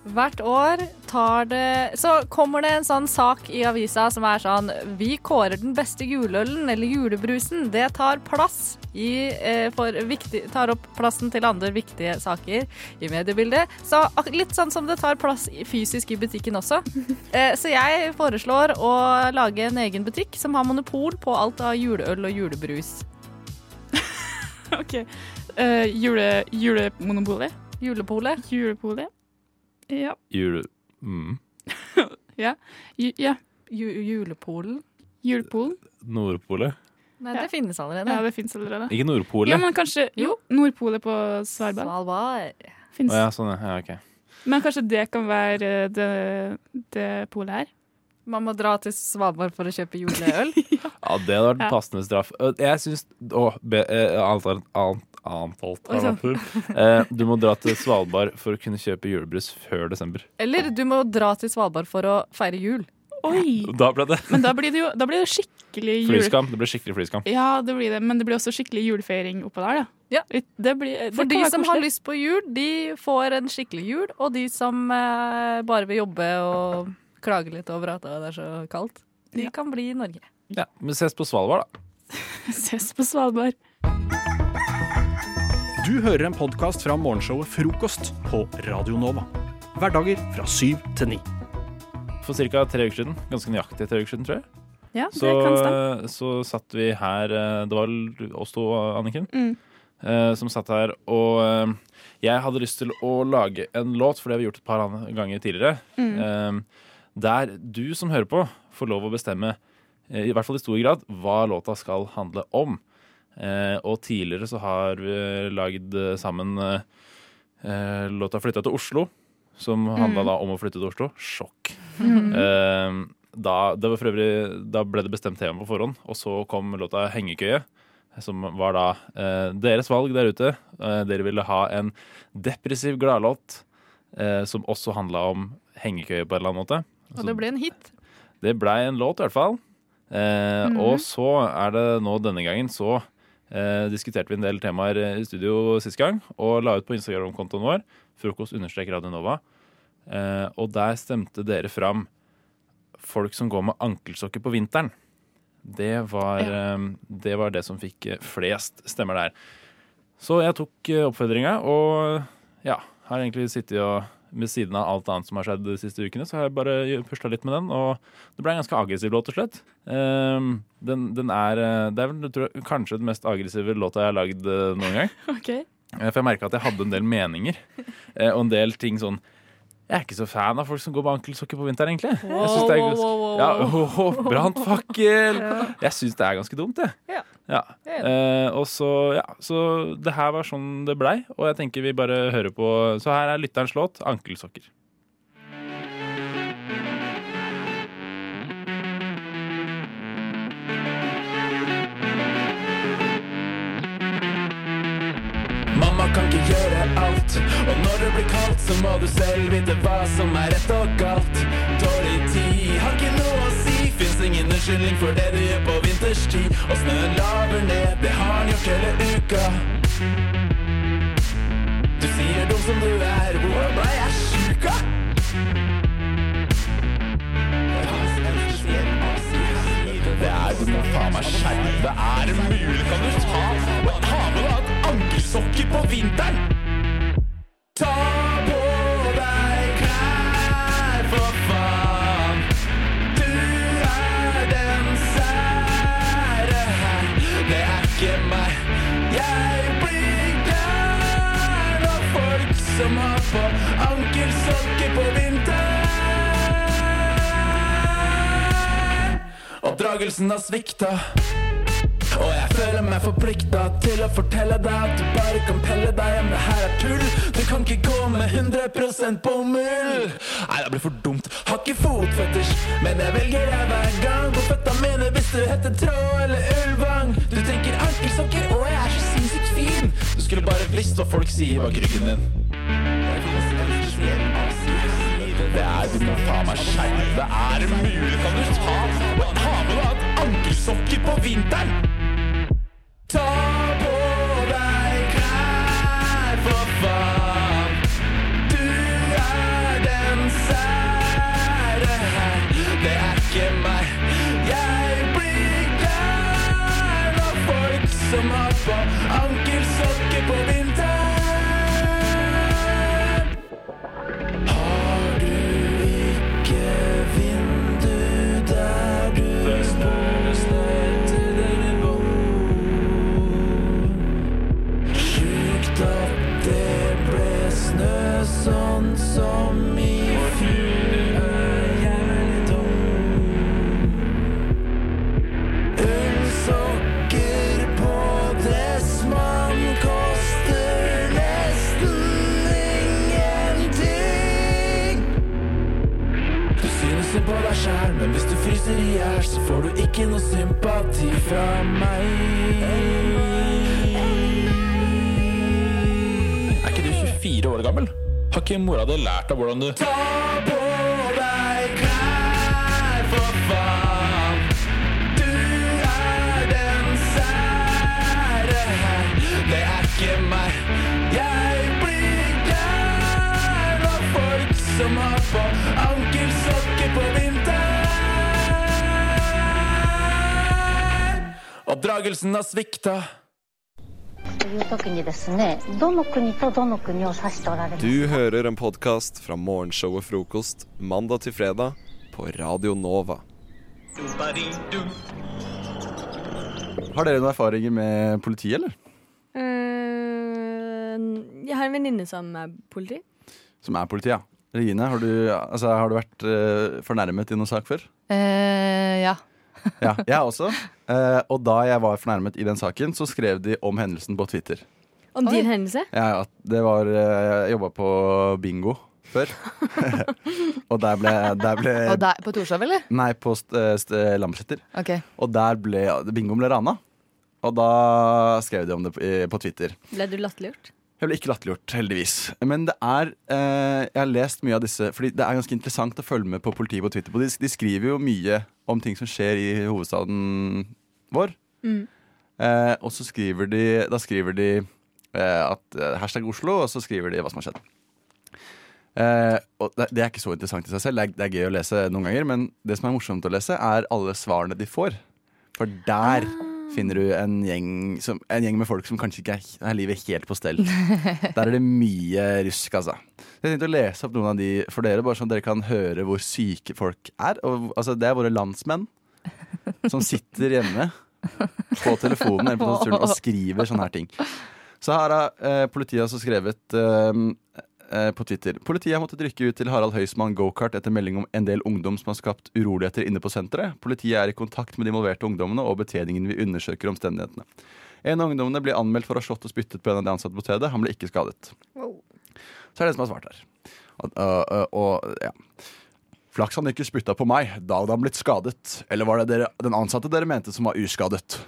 Speaker 10: Hvert år tar det Så kommer det en sånn sak i avisa som er sånn Vi kårer den beste juleølen eller julebrusen. Det tar plass i eh, for viktig, Tar opp plassen til andre viktige saker i mediebildet. Så ak- litt sånn som det tar plass i- fysisk i butikken også. Eh, så jeg foreslår å lage en egen butikk som har monopol på alt av juleøl og julebrus.
Speaker 20: <laughs> OK. Eh, jule, julemonopolet?
Speaker 10: Julepolet?
Speaker 20: Julepolet. Ja.
Speaker 18: Jule... Mm.
Speaker 20: ja. Ju, ja.
Speaker 10: julepolen?
Speaker 20: Julepolen.
Speaker 18: Nordpolet.
Speaker 10: Nei, det finnes allerede.
Speaker 20: Ja, det finnes allerede.
Speaker 18: Ikke Nordpolet.
Speaker 20: Ja, men kanskje Jo, Nordpolet på Svalbard.
Speaker 10: Svalbard.
Speaker 20: Finnes.
Speaker 18: Å ja, sånn, ja. ja. OK.
Speaker 20: Men kanskje det kan være eh, det, det polet her?
Speaker 10: Man må dra til Svalbard for å kjøpe juleøl.
Speaker 18: Ja, det hadde vært
Speaker 10: Ja.
Speaker 18: en passende straff. Øh, Jeg syns Å, be- eh, annet annet- annet
Speaker 10: Oi, sånn. sann.
Speaker 18: alternativ. Eh, Du må dra til Svalbard for å kunne kjøpe julebrus før desember.
Speaker 10: Eller du må dra til Svalbard for å feire jul.
Speaker 20: Oi!
Speaker 18: Da ble det
Speaker 20: <laughs> Men da blir det jo da blir det skikkelig jule...
Speaker 18: flyskam. Det ble skikkelig flyskam.
Speaker 20: Ja, det blir det. Men det blir også skikkelig julefeiring oppå der, da.
Speaker 10: Ja.
Speaker 20: Det blir, det
Speaker 10: For
Speaker 20: kan
Speaker 10: de
Speaker 20: være
Speaker 10: som har
Speaker 20: koselig.
Speaker 10: lyst på jul, de får en skikkelig jul. Og de som eh, bare vil jobbe og klage litt over at det er så kaldt, de kan bli i Norge.
Speaker 18: Ja, men ses på Svalbard, da.
Speaker 20: <laughs> Ses på Svalbard. <laughs>
Speaker 3: Du hører en podkast fra morgenshowet Frokost på Radio Nova. Hverdager fra syv til ni.
Speaker 18: for ca. tre uker siden. Ganske nøyaktig tre uker siden, tror jeg.
Speaker 20: Ja, det
Speaker 18: så,
Speaker 20: kan stemme.
Speaker 18: så satt vi her eh, Det var vel oss to, Anniken,
Speaker 20: Mm.
Speaker 18: eh, som satt her. Og eh, jeg hadde lyst til å lage en låt, for det har vi gjort et par an- ganger tidligere.
Speaker 20: Mm.
Speaker 18: eh, der du som hører på, får lov å bestemme, eh, i hvert fall i stor grad, hva låta skal handle om. Eh, og tidligere så har vi lagd eh, sammen eh, eh, låta 'Flytta til Oslo', som handla
Speaker 20: Mm.
Speaker 18: da om å flytte til Oslo. Sjokk.
Speaker 20: Mhm.
Speaker 18: Eh, da, det var for øvrig, da ble det bestemt tema på forhånd, og så kom låta 'Hengekøye'. Som var da eh, deres valg der ute. Eh, dere ville ha en depressiv gladlåt eh, som også handla om hengekøye på en eller annen måte.
Speaker 10: Og det ble en hit.
Speaker 18: Det blei en låt, i hvert fall. Eh,
Speaker 10: Mhm.
Speaker 18: Og så er det nå denne gangen så eh, diskuterte vi en del temaer eh, i studio sist gang, og la ut på Instagram-kontoen vår, frokost-radionova. Eh, og der stemte dere fram folk som går med ankelsokker på vinteren. Det var, eh, det, var det som fikk eh, flest stemmer der. Så jeg tok eh, oppfordringa, og ja, har egentlig sittet og ved siden av alt annet som har skjedd de siste ukene, så har jeg bare pusla litt med den. Og det ble en ganske aggressiv låt til slutt. Ehm, den, den er eh, Det er vel jeg tror, jeg, kanskje den mest aggressive låta jeg har lagd eh, noen gang.
Speaker 20: Ok.
Speaker 18: Eh, For jeg merka at jeg hadde en del meninger eh, og en del ting sånn jeg er ikke så fan av folk som går med ankelsokker på vinteren, egentlig. jeg synes det er
Speaker 20: Wow,
Speaker 18: ganske,
Speaker 20: wow, wow, wow.
Speaker 18: ja, oh, <laughs> Brannfakkel! Jeg syns det er ganske dumt, jeg.
Speaker 20: Ja.
Speaker 18: Ja. Eh, og så, ja, så det her var sånn det blei, og jeg tenker vi bare hører på. Så her er lytterens låt, 'Ankelsokker'.
Speaker 6: Mamma kan ikke gjøre alt Og når det blir kaldt så må du selv vite hva som er rett og galt Dårlig tid har ikke noe å si Finnes ingen unnskyldning for det du gjør på vinterstid Og snøen laver ned, det har den gjort hele uka Du sier dum som du er, hvor ble jeg syk av? Det er du må faen meg skjerpe Er det mulig kan du ta Og ha med deg et ankelsokker på vinteren Ta på deg klær For faen Du er den sære her Det er ikke meg Jeg blir glad Av folk som har på Ankelsokker på vinteren Oppdragelsen har svikta Og jeg føler meg forplikta Til å fortelle deg at du bare kan pelle deg hjem Det her er tull Du kan ikke gå med 100% bomull Nei, det blir for dumt Har ikke fotfetisj Men jeg velger deg hver gang På føtta mine hvis du heter tråd eller ulvang Du tenker ankelsokker Og jeg er så sinnssykt fin Du skulle bare visst hva folk sier bak ryggen din det er du må faen meg skjerpe. Er det mulig? Kan du ta og ha med deg et ankelsokker på vinteren? Ta på deg klær, for faen. Du er den sære her. Det er ikke meg. Jeg blir glad av folk som har på ankelsokker på vinteren. Har du ikke vindu der du bor? Sjukt at det ble snø sånn som i fjor. Ullsokker på dressmann koster nesten ingenting. Du synes synd på deg sjæl, men hvis du fryser i hjel, så får du ikke noe sympati fra meg. Er ikke du 24 år gammel? Har ikke mora di lært deg hvordan du Ta på deg klær, for faen. Du er den sære her. Det er ikke meg. Jeg blir gæren av folk som har på ankelsokker på vinteren. Oppdragelsen har svikta.
Speaker 22: という時にですねどの国とどの国を指しておられますか
Speaker 23: Du hører en podkast fra morgenshowet Frokost mandag til fredag
Speaker 4: på Radio Nova.
Speaker 11: Har dere noen erfaringer med politi, eller?
Speaker 5: Eh, jeg har en venninne som er politi.
Speaker 11: Som er politi, ja. Regine, har du, altså, har du vært eh, fornærmet i noen sak før?
Speaker 23: Eh, ja.
Speaker 11: Ja, <laughs> jeg også. Eh, og da jeg var fornærmet i den saken, så skrev de om hendelsen på Twitter.
Speaker 5: Om din hendelse?
Speaker 11: Ja, ja, det var eh, Jeg jobba på bingo før. <laughs> og der ble, der ble
Speaker 23: Og der, på Torshov, eller?
Speaker 11: Nei, på st st Lambertseter.
Speaker 23: Ok.
Speaker 11: Og der ble bingoen ble rana. Og da skrev de om det på, i, på Twitter.
Speaker 5: Ble du latterliggjort?
Speaker 11: Jeg ble ikke latterliggjort, heldigvis. Men det er eh, Jeg har lest mye av disse, fordi det er ganske interessant å følge med på politiet på Twitter. De, de skriver jo mye om ting som skjer i hovedstaden vår.
Speaker 24: Mm.
Speaker 11: Eh, og så skriver de Da skriver de eh, at eh, hashtag Oslo, og så skriver de hva som har skjedd. Eh, og det, det er ikke så interessant i seg selv. Det er, det er gøy å lese noen ganger, men det som er morsomt å lese, er alle svarene de får. For der finner du en gjeng, som, en gjeng med folk som kanskje ikke er, er livet helt på stell. Der er det mye rusk, altså. Jeg tenkte å lese opp noen av de for dere, bare sånn at dere kan høre hvor syke folk er. Og, altså, det er våre landsmenn som sitter hjemme på telefonen eller på turen, og skriver sånne her ting. Så her har eh, politiet også skrevet eh, eh, på Twitter Politiet har måttet rykke ut til Harald Høismann gokart etter melding om en del ungdom som har skapt uroligheter inne på senteret. Politiet er i kontakt med de involverte ungdommene, og betjeningen vil undersøke omstendighetene. En av ungdommene ble anmeldt for å ha slått og spyttet på en av de ansatte på stedet. Han ble ikke skadet. Så er det den som har svart her. Og, og, og ja. Flaks han ikke spytta på meg. Da hadde han blitt skadet. Eller var det dere, den ansatte dere mente som var
Speaker 23: <laughs>
Speaker 11: uskadet?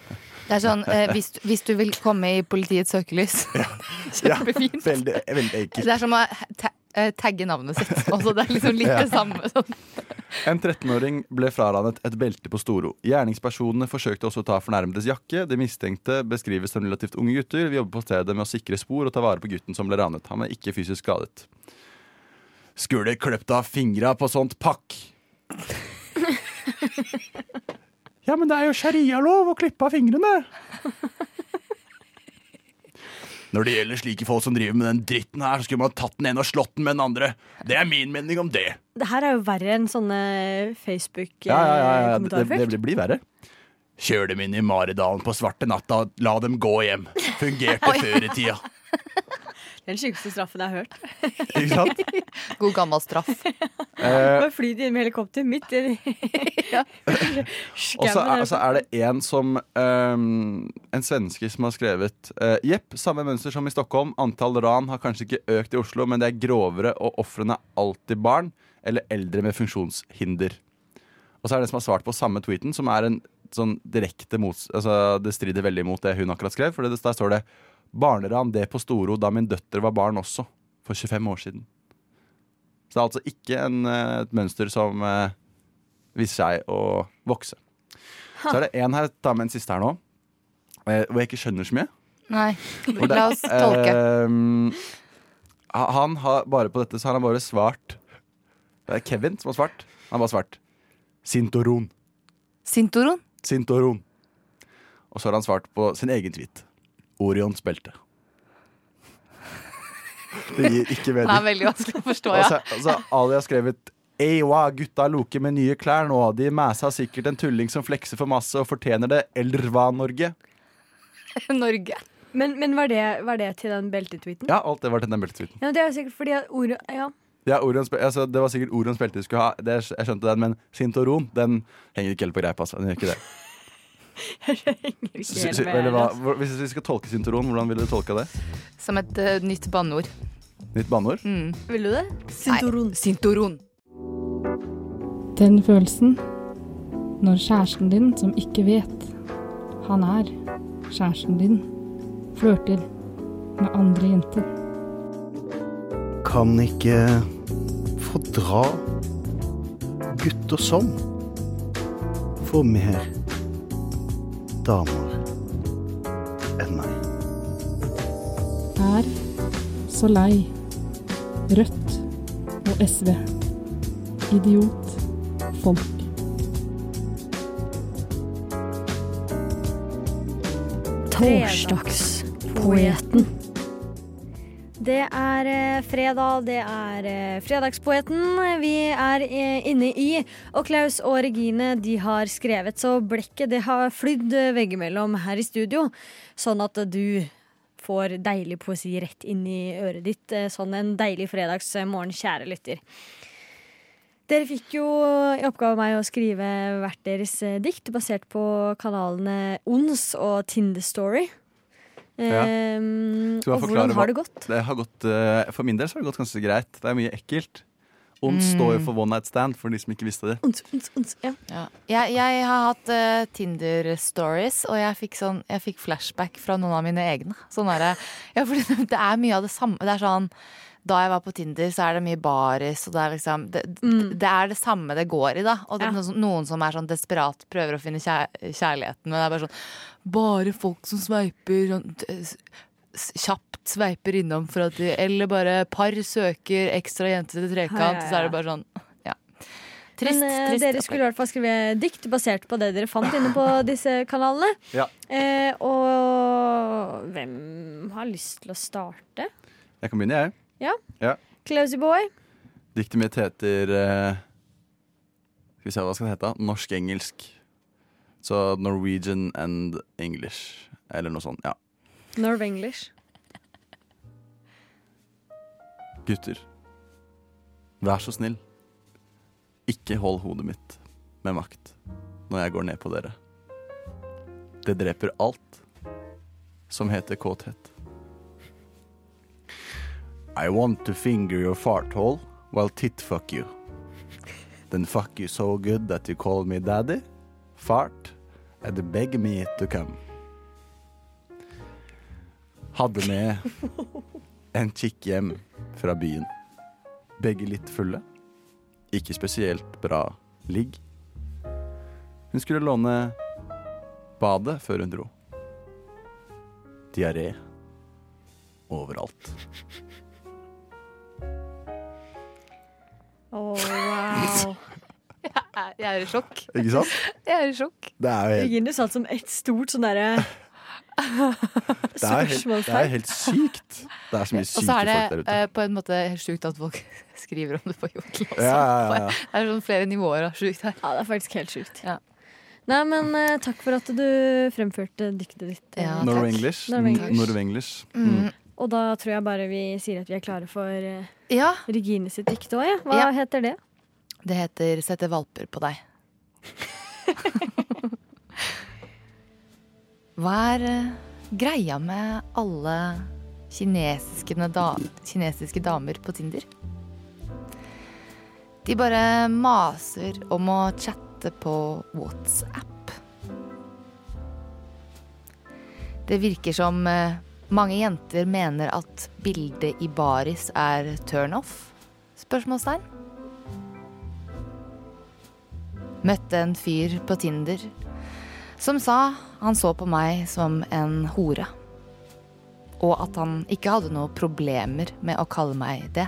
Speaker 23: Det er sånn, eh, hvis, hvis du vil komme i politiets søkelys <laughs> Kjempefint.
Speaker 11: Ja, veldig, veldig enkelt.
Speaker 23: Det er sånn- som å ta eh, tagge navnet sitt. Også, det er liksom litt
Speaker 11: Ja.
Speaker 23: det samme. Sånn.
Speaker 11: En 13-åring ble fraranet et belte på Storo. Gjerningspersonene forsøkte også å ta fornærmedes jakke. De mistenkte beskrives som relativt unge gutter. Vi jobber på stedet med å sikre spor og ta vare på gutten som ble ranet. Han er ikke fysisk skadet. Skulle kløpt av fingra på sånt pakk! Ja, men det er jo sharialov å klippe av fingrene. Når det gjelder slike folk som driver med den dritten her, så skulle man tatt den ene og slått den med den andre. Det er min mening om det.
Speaker 5: Det her er jo verre enn sånne
Speaker 11: Ja, ja, ja, ja. Det,
Speaker 5: Facebook-kommentarfelt.
Speaker 11: det, det blir verre. Kjør dem inn i Maridalen på svarte natta, la dem gå hjem. Fungerte før i tida.
Speaker 5: Det er den sjukeste straffen jeg har hørt.
Speaker 11: <laughs> Ikke sant?
Speaker 5: <laughs>
Speaker 23: God gammel straff.
Speaker 11: Eh,
Speaker 5: Bare fly de inn med helikopter
Speaker 23: <laughs>
Speaker 5: midt i ja.
Speaker 11: og så er, så er det en som ehm, En svenske som har skrevet eh, Jepp, samme mønster som i Stockholm. Antall ran har kanskje ikke økt i Oslo, men det er grovere, og ofrene er alltid barn eller eldre med funksjonshinder. Og så er det en som har svart på samme tweeten, som er en sånn direkte mots... Altså, det strider veldig mot det hun akkurat skrev, for det, der står det Barneran det på Storo da min døtter var barn også, for 25 år siden. Så det er altså ikke en, eh, et mønster som eh, viser seg å vokse. Så er det en her, ta med en siste her nå, eh, hvor jeg ikke skjønner så mye.
Speaker 23: Nei,
Speaker 11: Hvor det-
Speaker 23: la oss tolke.
Speaker 11: Ehm, ha- han har bare på dette så har han bare svart Det er Kevin som har svart. Han har bare svart Sintoron.
Speaker 23: Sintoron?
Speaker 11: Sintoron. Og så har han svart på sin egen tweet. Orions belte. Det gir ikke mening. Altså,
Speaker 23: Det er veldig vanskelig å forstå, ja.
Speaker 11: Og så- og så Ali har skrevet Eiwa, gutta loker med nye klær nå. De mæsa sikkert en tulling som flekser for masse og fortjener det. Elderva, Norge.
Speaker 5: Norge. Men, men var, det, var det til den beltetweeten?
Speaker 11: Ja, alt det var til den beltetweeten.
Speaker 5: Ja, det er jo sikkert fordi at ordet ja.
Speaker 11: Ja, Orions, bel- altså, det var sikkert Orions belte du skulle ha. Det, jeg skjønte den, men Sintoron den henger ikke helt på greip. Altså. Den gjør ikke det.
Speaker 5: <laughs>
Speaker 23: ikke
Speaker 11: Sy-
Speaker 23: helt
Speaker 11: sy-
Speaker 23: med,
Speaker 11: eller hva,
Speaker 23: altså.
Speaker 11: hvor- hvis vi skal tolke Sintoron, hvordan ville du tolka det?
Speaker 23: Som et eh, nytt banneord.
Speaker 11: Nytt banneord?
Speaker 23: Mm.
Speaker 5: Vil du det?
Speaker 23: Sintoron. Sintoron.
Speaker 10: Den følelsen når kjæresten din, som ikke vet han er kjæresten din, flørter med andre jenter.
Speaker 16: Kan ikke fordra gutter som får mer damer enn meg.
Speaker 10: Er så lei. Rødt og SV. Idiot. Folk.
Speaker 5: Torsdagspoeten. Det er eh, fredag, det er eh, Fredagspoeten vi er eh, inne i. Og Klaus og Regine de har skrevet, så blekket det har flydd eh, veggimellom her i studio. Sånn at eh, du får deilig poesi rett inn i øret ditt. eh, Sånn en deilig fredagsmorgen, kjære lytter. Dere fikk jo i oppgave av meg å skrive hvert deres eh, dikt, basert på kanalene Ons og Tinder Story.
Speaker 11: Ja.
Speaker 5: Ehm,
Speaker 11: Skal jeg
Speaker 5: og
Speaker 11: forklare
Speaker 5: hvordan
Speaker 11: hva-
Speaker 5: har det gått?
Speaker 11: Det har gått eh, for min del så har det gått ganske greit. Det er mye ekkelt. Ons
Speaker 23: Mm.
Speaker 11: står jo for one night stand, for de som ikke visste det.
Speaker 23: Ja. Jeg, jeg har hatt eh, Tinder-stories, og jeg fikk, sånn, jeg fikk flashback fra noen av mine egne. Sånn er det. Ja, fordi det- det er mye av det samme. Det er sånn, da jeg var på Tinder, så er det mye baris, og det er liksom Det,
Speaker 5: Mm.
Speaker 23: det er det samme det går i, da. Og det er noen, som- noen som er sånn desperat prøver å finne kjær, kjærligheten, men det er bare sånn Bare folk som sveiper sånn, t- s- s- kjapt sveiper innom for at de Eller bare par søker ekstra jenter til trekant,
Speaker 5: Ja, ja,
Speaker 23: så er det
Speaker 5: ja.
Speaker 23: bare sånn Ja. Trist,
Speaker 5: Men eh,
Speaker 23: trist
Speaker 5: dere skulle i hvert fall skrive dikt basert på det dere fant inne
Speaker 23: <laughs>
Speaker 5: på disse kanalene.
Speaker 11: Ja.
Speaker 5: Eh, og hvem har lyst til å starte?
Speaker 11: Jeg kan begynne, jeg.
Speaker 5: Ja,
Speaker 11: Ja.
Speaker 5: Clausy Boy.
Speaker 11: Diktet mitt heter eh, Skal vi se hva skal det hete? Norsk-engelsk. Så Norwegian and English, eller noe sånt. Ja.
Speaker 5: Norv English.
Speaker 11: Gutter, vær så snill. Ikke hold hodet mitt med makt når jeg går ned på dere. Det dreper alt som heter kåthet. I want to finger your fart hole while tit fuck you. Then fuck you so good that you call me daddy, fart, and beg me to come. Hadde med en kikk hjem fra byen. Begge litt fulle. Ikke spesielt bra ligg. Hun skulle låne badet før hun dro. Diaré overalt.
Speaker 5: Å, wow.
Speaker 23: Jeg er, <laughs> jeg er i sjokk.
Speaker 11: Ikke sant?
Speaker 23: <laughs> Jeg er i sjokk.
Speaker 11: Det er jo helt,
Speaker 5: Regine satt som et stort sånn
Speaker 23: <laughs>
Speaker 5: derre <laughs>
Speaker 11: det er helt, det er helt sykt. Det er så mye
Speaker 23: <laughs> Og så
Speaker 11: syke
Speaker 23: er det
Speaker 11: folk der ute.
Speaker 23: eh, på en måte helt sjukt at folk <laughs> skriver om det på jodel også.
Speaker 11: Ja, ja, ja, ja.
Speaker 23: Det er sånn flere nivåer av sjukt her.
Speaker 5: Ja, det er faktisk helt sjukt. Nei, men eh, takk for at du fremførte diktet ditt. eh, takk.
Speaker 11: Norwenglish.
Speaker 5: Norv English.
Speaker 11: Norwenglish.
Speaker 5: Mm.
Speaker 11: Mm.
Speaker 5: Og da tror jeg bare vi sier at vi er klare for eh,
Speaker 23: Regine sitt dikt òg, ja.
Speaker 5: Hva heter det?
Speaker 23: Det heter 'Sette valper på deg'. <laughs> Hva er eh, greia med alle kinesiske, da, kinesiske damer på Tinder? De bare maser om å chatte på WhatsApp. Det virker som eh, mange jenter mener at bildet i baris er turnoff? Spørsmålstegn. Møtte en fyr på Tinder som sa han så på meg som en hore. Og at han ikke hadde noe problemer med å kalle meg det.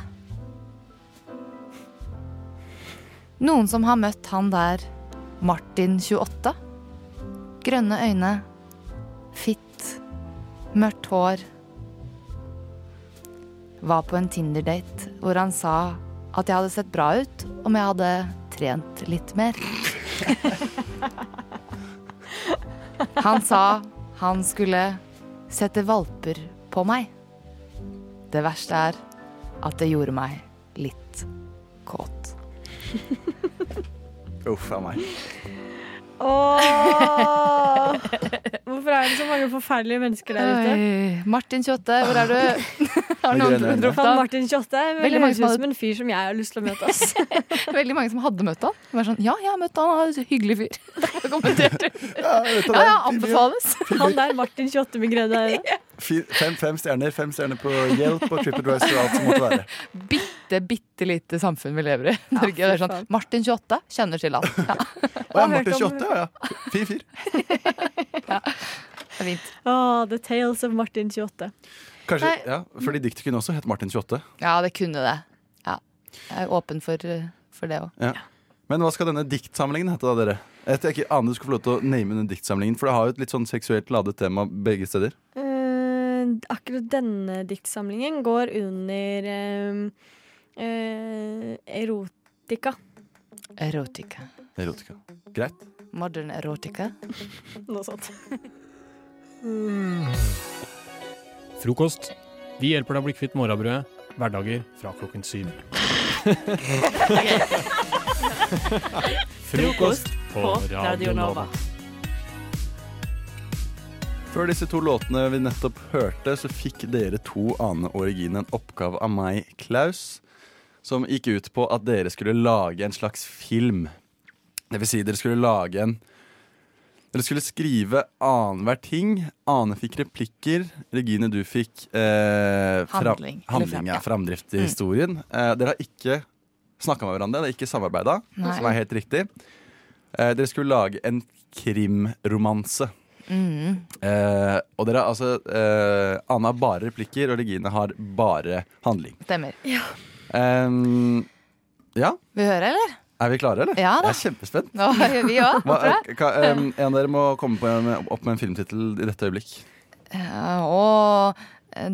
Speaker 23: Noen som har møtt han der, Martin 28. Grønne øyne, fitt, mørkt hår. Var på en Tinder-date hvor han sa at jeg hadde sett bra ut om jeg hadde trent litt mer. Han sa han skulle sette valper på meg. Det verste er at det gjorde meg litt kåt.
Speaker 11: Mm. Uff a meg.
Speaker 5: <laughs> Åh! Hvorfor er det så mange forferdelige mennesker der ute?
Speaker 23: Oi, Martin 28, hvor er
Speaker 5: <laughs>
Speaker 23: du? Har noen
Speaker 5: Migrene.
Speaker 23: droppet
Speaker 5: Faen,
Speaker 23: han?
Speaker 5: Martin 28 er
Speaker 23: Veldig
Speaker 5: veldig
Speaker 23: mange
Speaker 5: høres
Speaker 23: som
Speaker 5: ut
Speaker 23: hadde-
Speaker 5: som en fyr som jeg har lyst til å møte.
Speaker 23: <laughs>
Speaker 5: Ass.
Speaker 23: Veldig mange som hadde møtt han. De var sånn, ja, jeg har møtt han, han er en hyggelig fyr. Kommenterte.
Speaker 11: vet du
Speaker 23: Ja,
Speaker 11: hva?
Speaker 23: ja, anbefales.
Speaker 5: Han der Martin 28 med
Speaker 11: <laughs>
Speaker 5: grønne
Speaker 11: Fi- Fem, fem stjerner fem stjerner på Hjelp og TripAdvisor og alt som måtte være.
Speaker 23: Bitte, bitte lite samfunn vi lever i. Norge, det er sånn, Martin 28 kjenner til han. Ja.
Speaker 11: <laughs> Å ja, Martin 28, ja. ja. Fin fyr.
Speaker 5: Åh, the Tales of Martin 28.
Speaker 11: Kanskje,
Speaker 23: Nei.
Speaker 11: ja, fordi diktet kunne også hett Martin 28.
Speaker 23: Ja, det kunne det. Ja. Jeg er åpen for, for det òg.
Speaker 11: Ja. Men hva skal denne diktsamlingen hete, da, dere? Jeg vet ikke, Ane, du skulle få lov til å name denne diktsamlingen, for det har jo et litt sånn seksuelt ladet tema begge steder.
Speaker 5: Eh, akkurat denne diktsamlingen går under eh, eh, erotika.
Speaker 23: Erotika.
Speaker 11: Erotika. Greit.
Speaker 23: Modern erotica.
Speaker 5: Noe sånt.
Speaker 1: Frokost. Vi hjelper deg å bli kvitt morgenbrødet. Hverdager fra klokken syv.
Speaker 11: Frokost på Radio Nova. Før disse to låtene vi nettopp hørte, så fikk dere to Ane og Regine en oppgave av meg, Klaus, som gikk ut på at dere skulle lage en slags film. Det vil si, dere skulle lage en Dere skulle skrive annenhver ting. Ane fikk replikker. Regine, du fikk eh, fra-
Speaker 23: Handling. Eller Mm. fram-
Speaker 11: handling ja, framdrift i historien. Eh, dere har ikke snakka med hverandre, dere har ikke samarbeida,
Speaker 23: Nei.
Speaker 11: som er helt riktig. Eh, dere skulle lage en krimromanse.
Speaker 23: Mm.
Speaker 11: Eh, og dere har altså eh, Anna har bare replikker, og Regine har bare handling.
Speaker 23: Stemmer.
Speaker 11: Ehm, ja,
Speaker 23: Vil du høre, eller?
Speaker 11: er vi klare, eller?
Speaker 23: Ja da.
Speaker 11: Jeg er kjempespent.
Speaker 23: Nå er vi òg,
Speaker 11: Hva-
Speaker 23: tror jeg.
Speaker 11: eh, hva- ehm, en av dere må komme på en, opp med en filmtittel i dette øyeblikk.
Speaker 23: Ja, Eh, og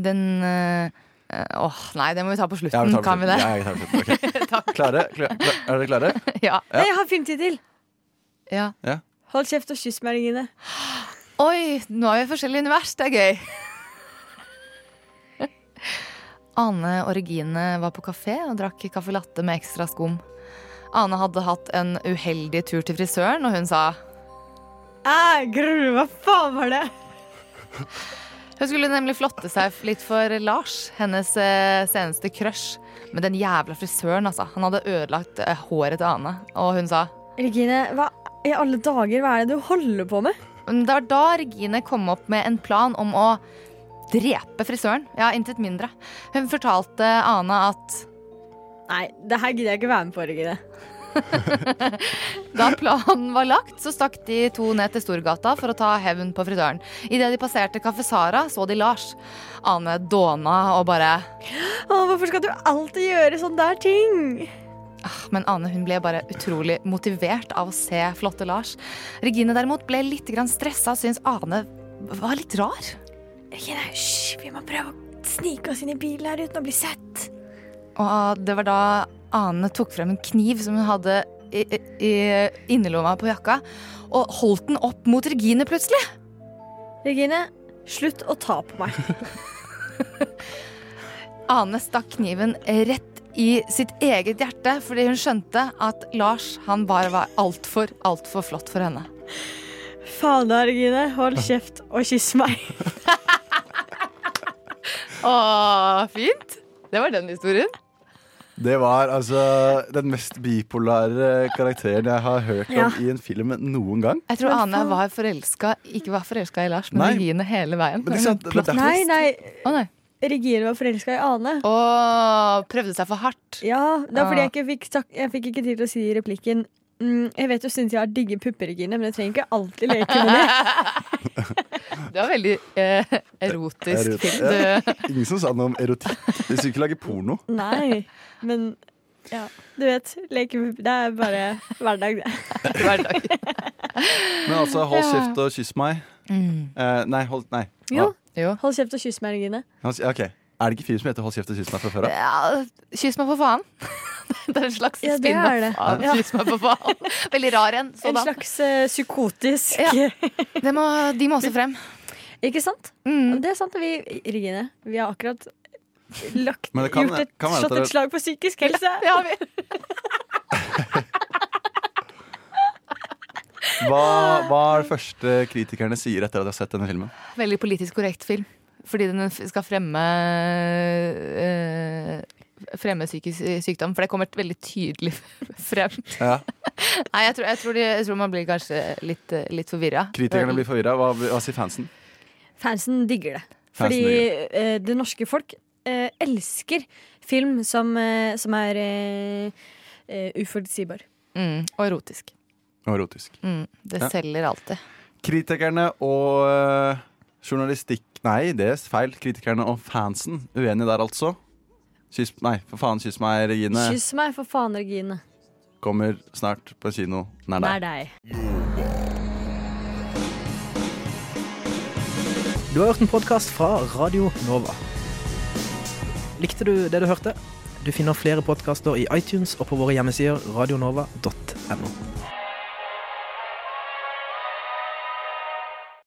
Speaker 23: den eh, eh, Åh, nei, det må vi ta på slutten.
Speaker 11: Ja, tar
Speaker 23: kan vi det?
Speaker 11: Ja, jeg tar det på slutten. Ok. Klare? Kla- kla- er dere klare?
Speaker 23: <laughs> ja.
Speaker 11: Ja.
Speaker 5: Jeg har filmtittel!
Speaker 23: Ja.
Speaker 11: Ja.
Speaker 5: Hold kjeft og kyss meg, Regine.
Speaker 23: <gasps> Oi, nå er vi i forskjellige univers. Det er gøy. Ane og Regine var på kafé og drakk caffè latte med ekstra skum. Ane hadde hatt en uheldig tur til frisøren, og hun sa
Speaker 5: Jeg gruer meg, hva faen var det?
Speaker 23: Hun skulle nemlig flotte seg litt for Lars, hennes eh, seneste crush. Men den jævla frisøren, altså. Han hadde ødelagt eh, håret til Ane, og hun sa
Speaker 5: Regine, hva i alle dager, hva er det du holder på med?
Speaker 23: Men Det var da Regine kom opp med en plan om å drepe frisøren. Ja, intet mindre. Hun fortalte Ane at
Speaker 5: Nei, det her gidder jeg ikke være med på, Regine.
Speaker 23: <laughs> da planen var lagt, så stakk de to ned til Storgata for å ta hevn på frisøren. Idet de passerte Kaffe Sara, så de Lars. Ane dåna og bare
Speaker 5: Å, hvorfor skal du alltid gjøre sånne der ting?
Speaker 23: Ah, Men Ane hun ble bare utrolig motivert av å se flotte Lars. Regine derimot ble litt grann stressa og syntes Ane var litt rar.
Speaker 5: Regine, hysj, vi må prøve å snike oss inn i bilen her uten å bli sett.
Speaker 23: Og ah, det var da Ane tok frem en kniv som hun hadde i, i, i innerlomma på jakka, og holdt den opp mot Regine plutselig.
Speaker 5: Regine, slutt å ta på meg.
Speaker 23: <laughs> Ane stakk kniven rett i sitt eget hjerte fordi hun skjønte at Lars han bare var altfor, altfor flott for henne.
Speaker 5: Faen da, Regine, hold kjeft og kyss
Speaker 23: <laughs>
Speaker 5: meg.
Speaker 23: Å, fint. Det var den historien.
Speaker 11: Det var altså den mest bipolare karakteren jeg har hørt om
Speaker 23: Ja.
Speaker 11: i en film noen gang.
Speaker 23: Jeg tror Ane var forelska, ikke var forelska i Lars, men
Speaker 11: Nei.
Speaker 23: Regine hele veien.
Speaker 11: Men det er sant, det er
Speaker 23: Plot
Speaker 11: derfor-
Speaker 5: Nei,
Speaker 23: twist.
Speaker 5: nei.
Speaker 23: Å, nei.
Speaker 5: Regine var forelska i Ane.
Speaker 23: Å, prøvde seg for hardt.
Speaker 5: Ja, det er fordi
Speaker 23: Ah.
Speaker 5: jeg ikke fikk, tak- jeg fikk ikke tid til å si i replikken mm, Jeg vet du syns jeg har digge pupper, Regine, men jeg trenger ikke alltid leke med det.
Speaker 23: <laughs> Det var veldig eh, erotisk
Speaker 11: Erot-
Speaker 23: film.
Speaker 11: Ja.
Speaker 23: Du.
Speaker 11: Eh, Ingen som sa noe om erotikk. De skulle ikke lage porno.
Speaker 5: <laughs> Nei, men ja, du vet. Lekepupper, det er bare hverdag,
Speaker 23: <laughs>
Speaker 5: det.
Speaker 11: Men altså, hold
Speaker 5: Ja.
Speaker 11: kjeft og kyss meg.
Speaker 23: Mm.
Speaker 11: Eh, nei, hold Nei. Ah,
Speaker 5: Jo.
Speaker 23: jo.
Speaker 5: Hold kjeft og kyss meg, Regine.
Speaker 11: Han sier- Ok, Er det ikke film som heter 'Hold kjeft og kyss meg' fra før av?
Speaker 23: Ja, kyss meg for faen. <laughs> Det er en slags
Speaker 5: Ja, det er det.
Speaker 23: spin-off av
Speaker 5: Ja.
Speaker 23: Kyss meg for faen. <laughs> Sånn Veldig rar en.
Speaker 5: <laughs> En
Speaker 23: sådan.
Speaker 5: slags eh, psykotisk
Speaker 23: Det må, De må også frem. Mm.
Speaker 5: Ikke sant? Det er sant. og Vi, Regine, vi har akkurat lagt,
Speaker 11: Men det kan-
Speaker 5: gjort et,
Speaker 11: kan være at
Speaker 5: slått
Speaker 11: dere-
Speaker 5: et slag på psykisk helse.
Speaker 11: Hva, hva er det første kritikerne sier etter at de har sett denne filmen?
Speaker 23: Veldig politisk korrekt film. Fordi den f- skal fremme eh, Fremme psykisk eh, sykdom. For det kommer veldig tydelig <laughs> frem.
Speaker 11: Ja.
Speaker 23: Nei, jeg tror, jeg, tror de, jeg tror man blir kanskje litt, eh, litt forvirra.
Speaker 11: Kritikerne blir forvirra. Hva, hva sier fansen?
Speaker 5: Fansen digger det.
Speaker 11: Fansen
Speaker 5: Fordi
Speaker 11: digger
Speaker 5: eh, det norske folk eh, elsker film som, eh, som er eh, eh, uforutsigbar.
Speaker 23: Mm, og erotisk.
Speaker 11: Og erotisk.
Speaker 23: Mm, det
Speaker 11: Ja.
Speaker 23: selger alltid.
Speaker 11: Kritikerne og øh, journalistikk Nei, det er feil. Kritikerne og fansen. Uenig der, altså. Kyss, nei, for faen, kyss meg, Regine.
Speaker 5: Kyss meg, for faen, Regine.
Speaker 11: Kommer snart på kino nær
Speaker 5: Nær
Speaker 11: deg.
Speaker 5: deg.
Speaker 6: Du har hørt en podkast fra Radio Nova. Likte du det du hørte? Du finner flere podkaster i iTunes og på våre hjemmesider radionova.no.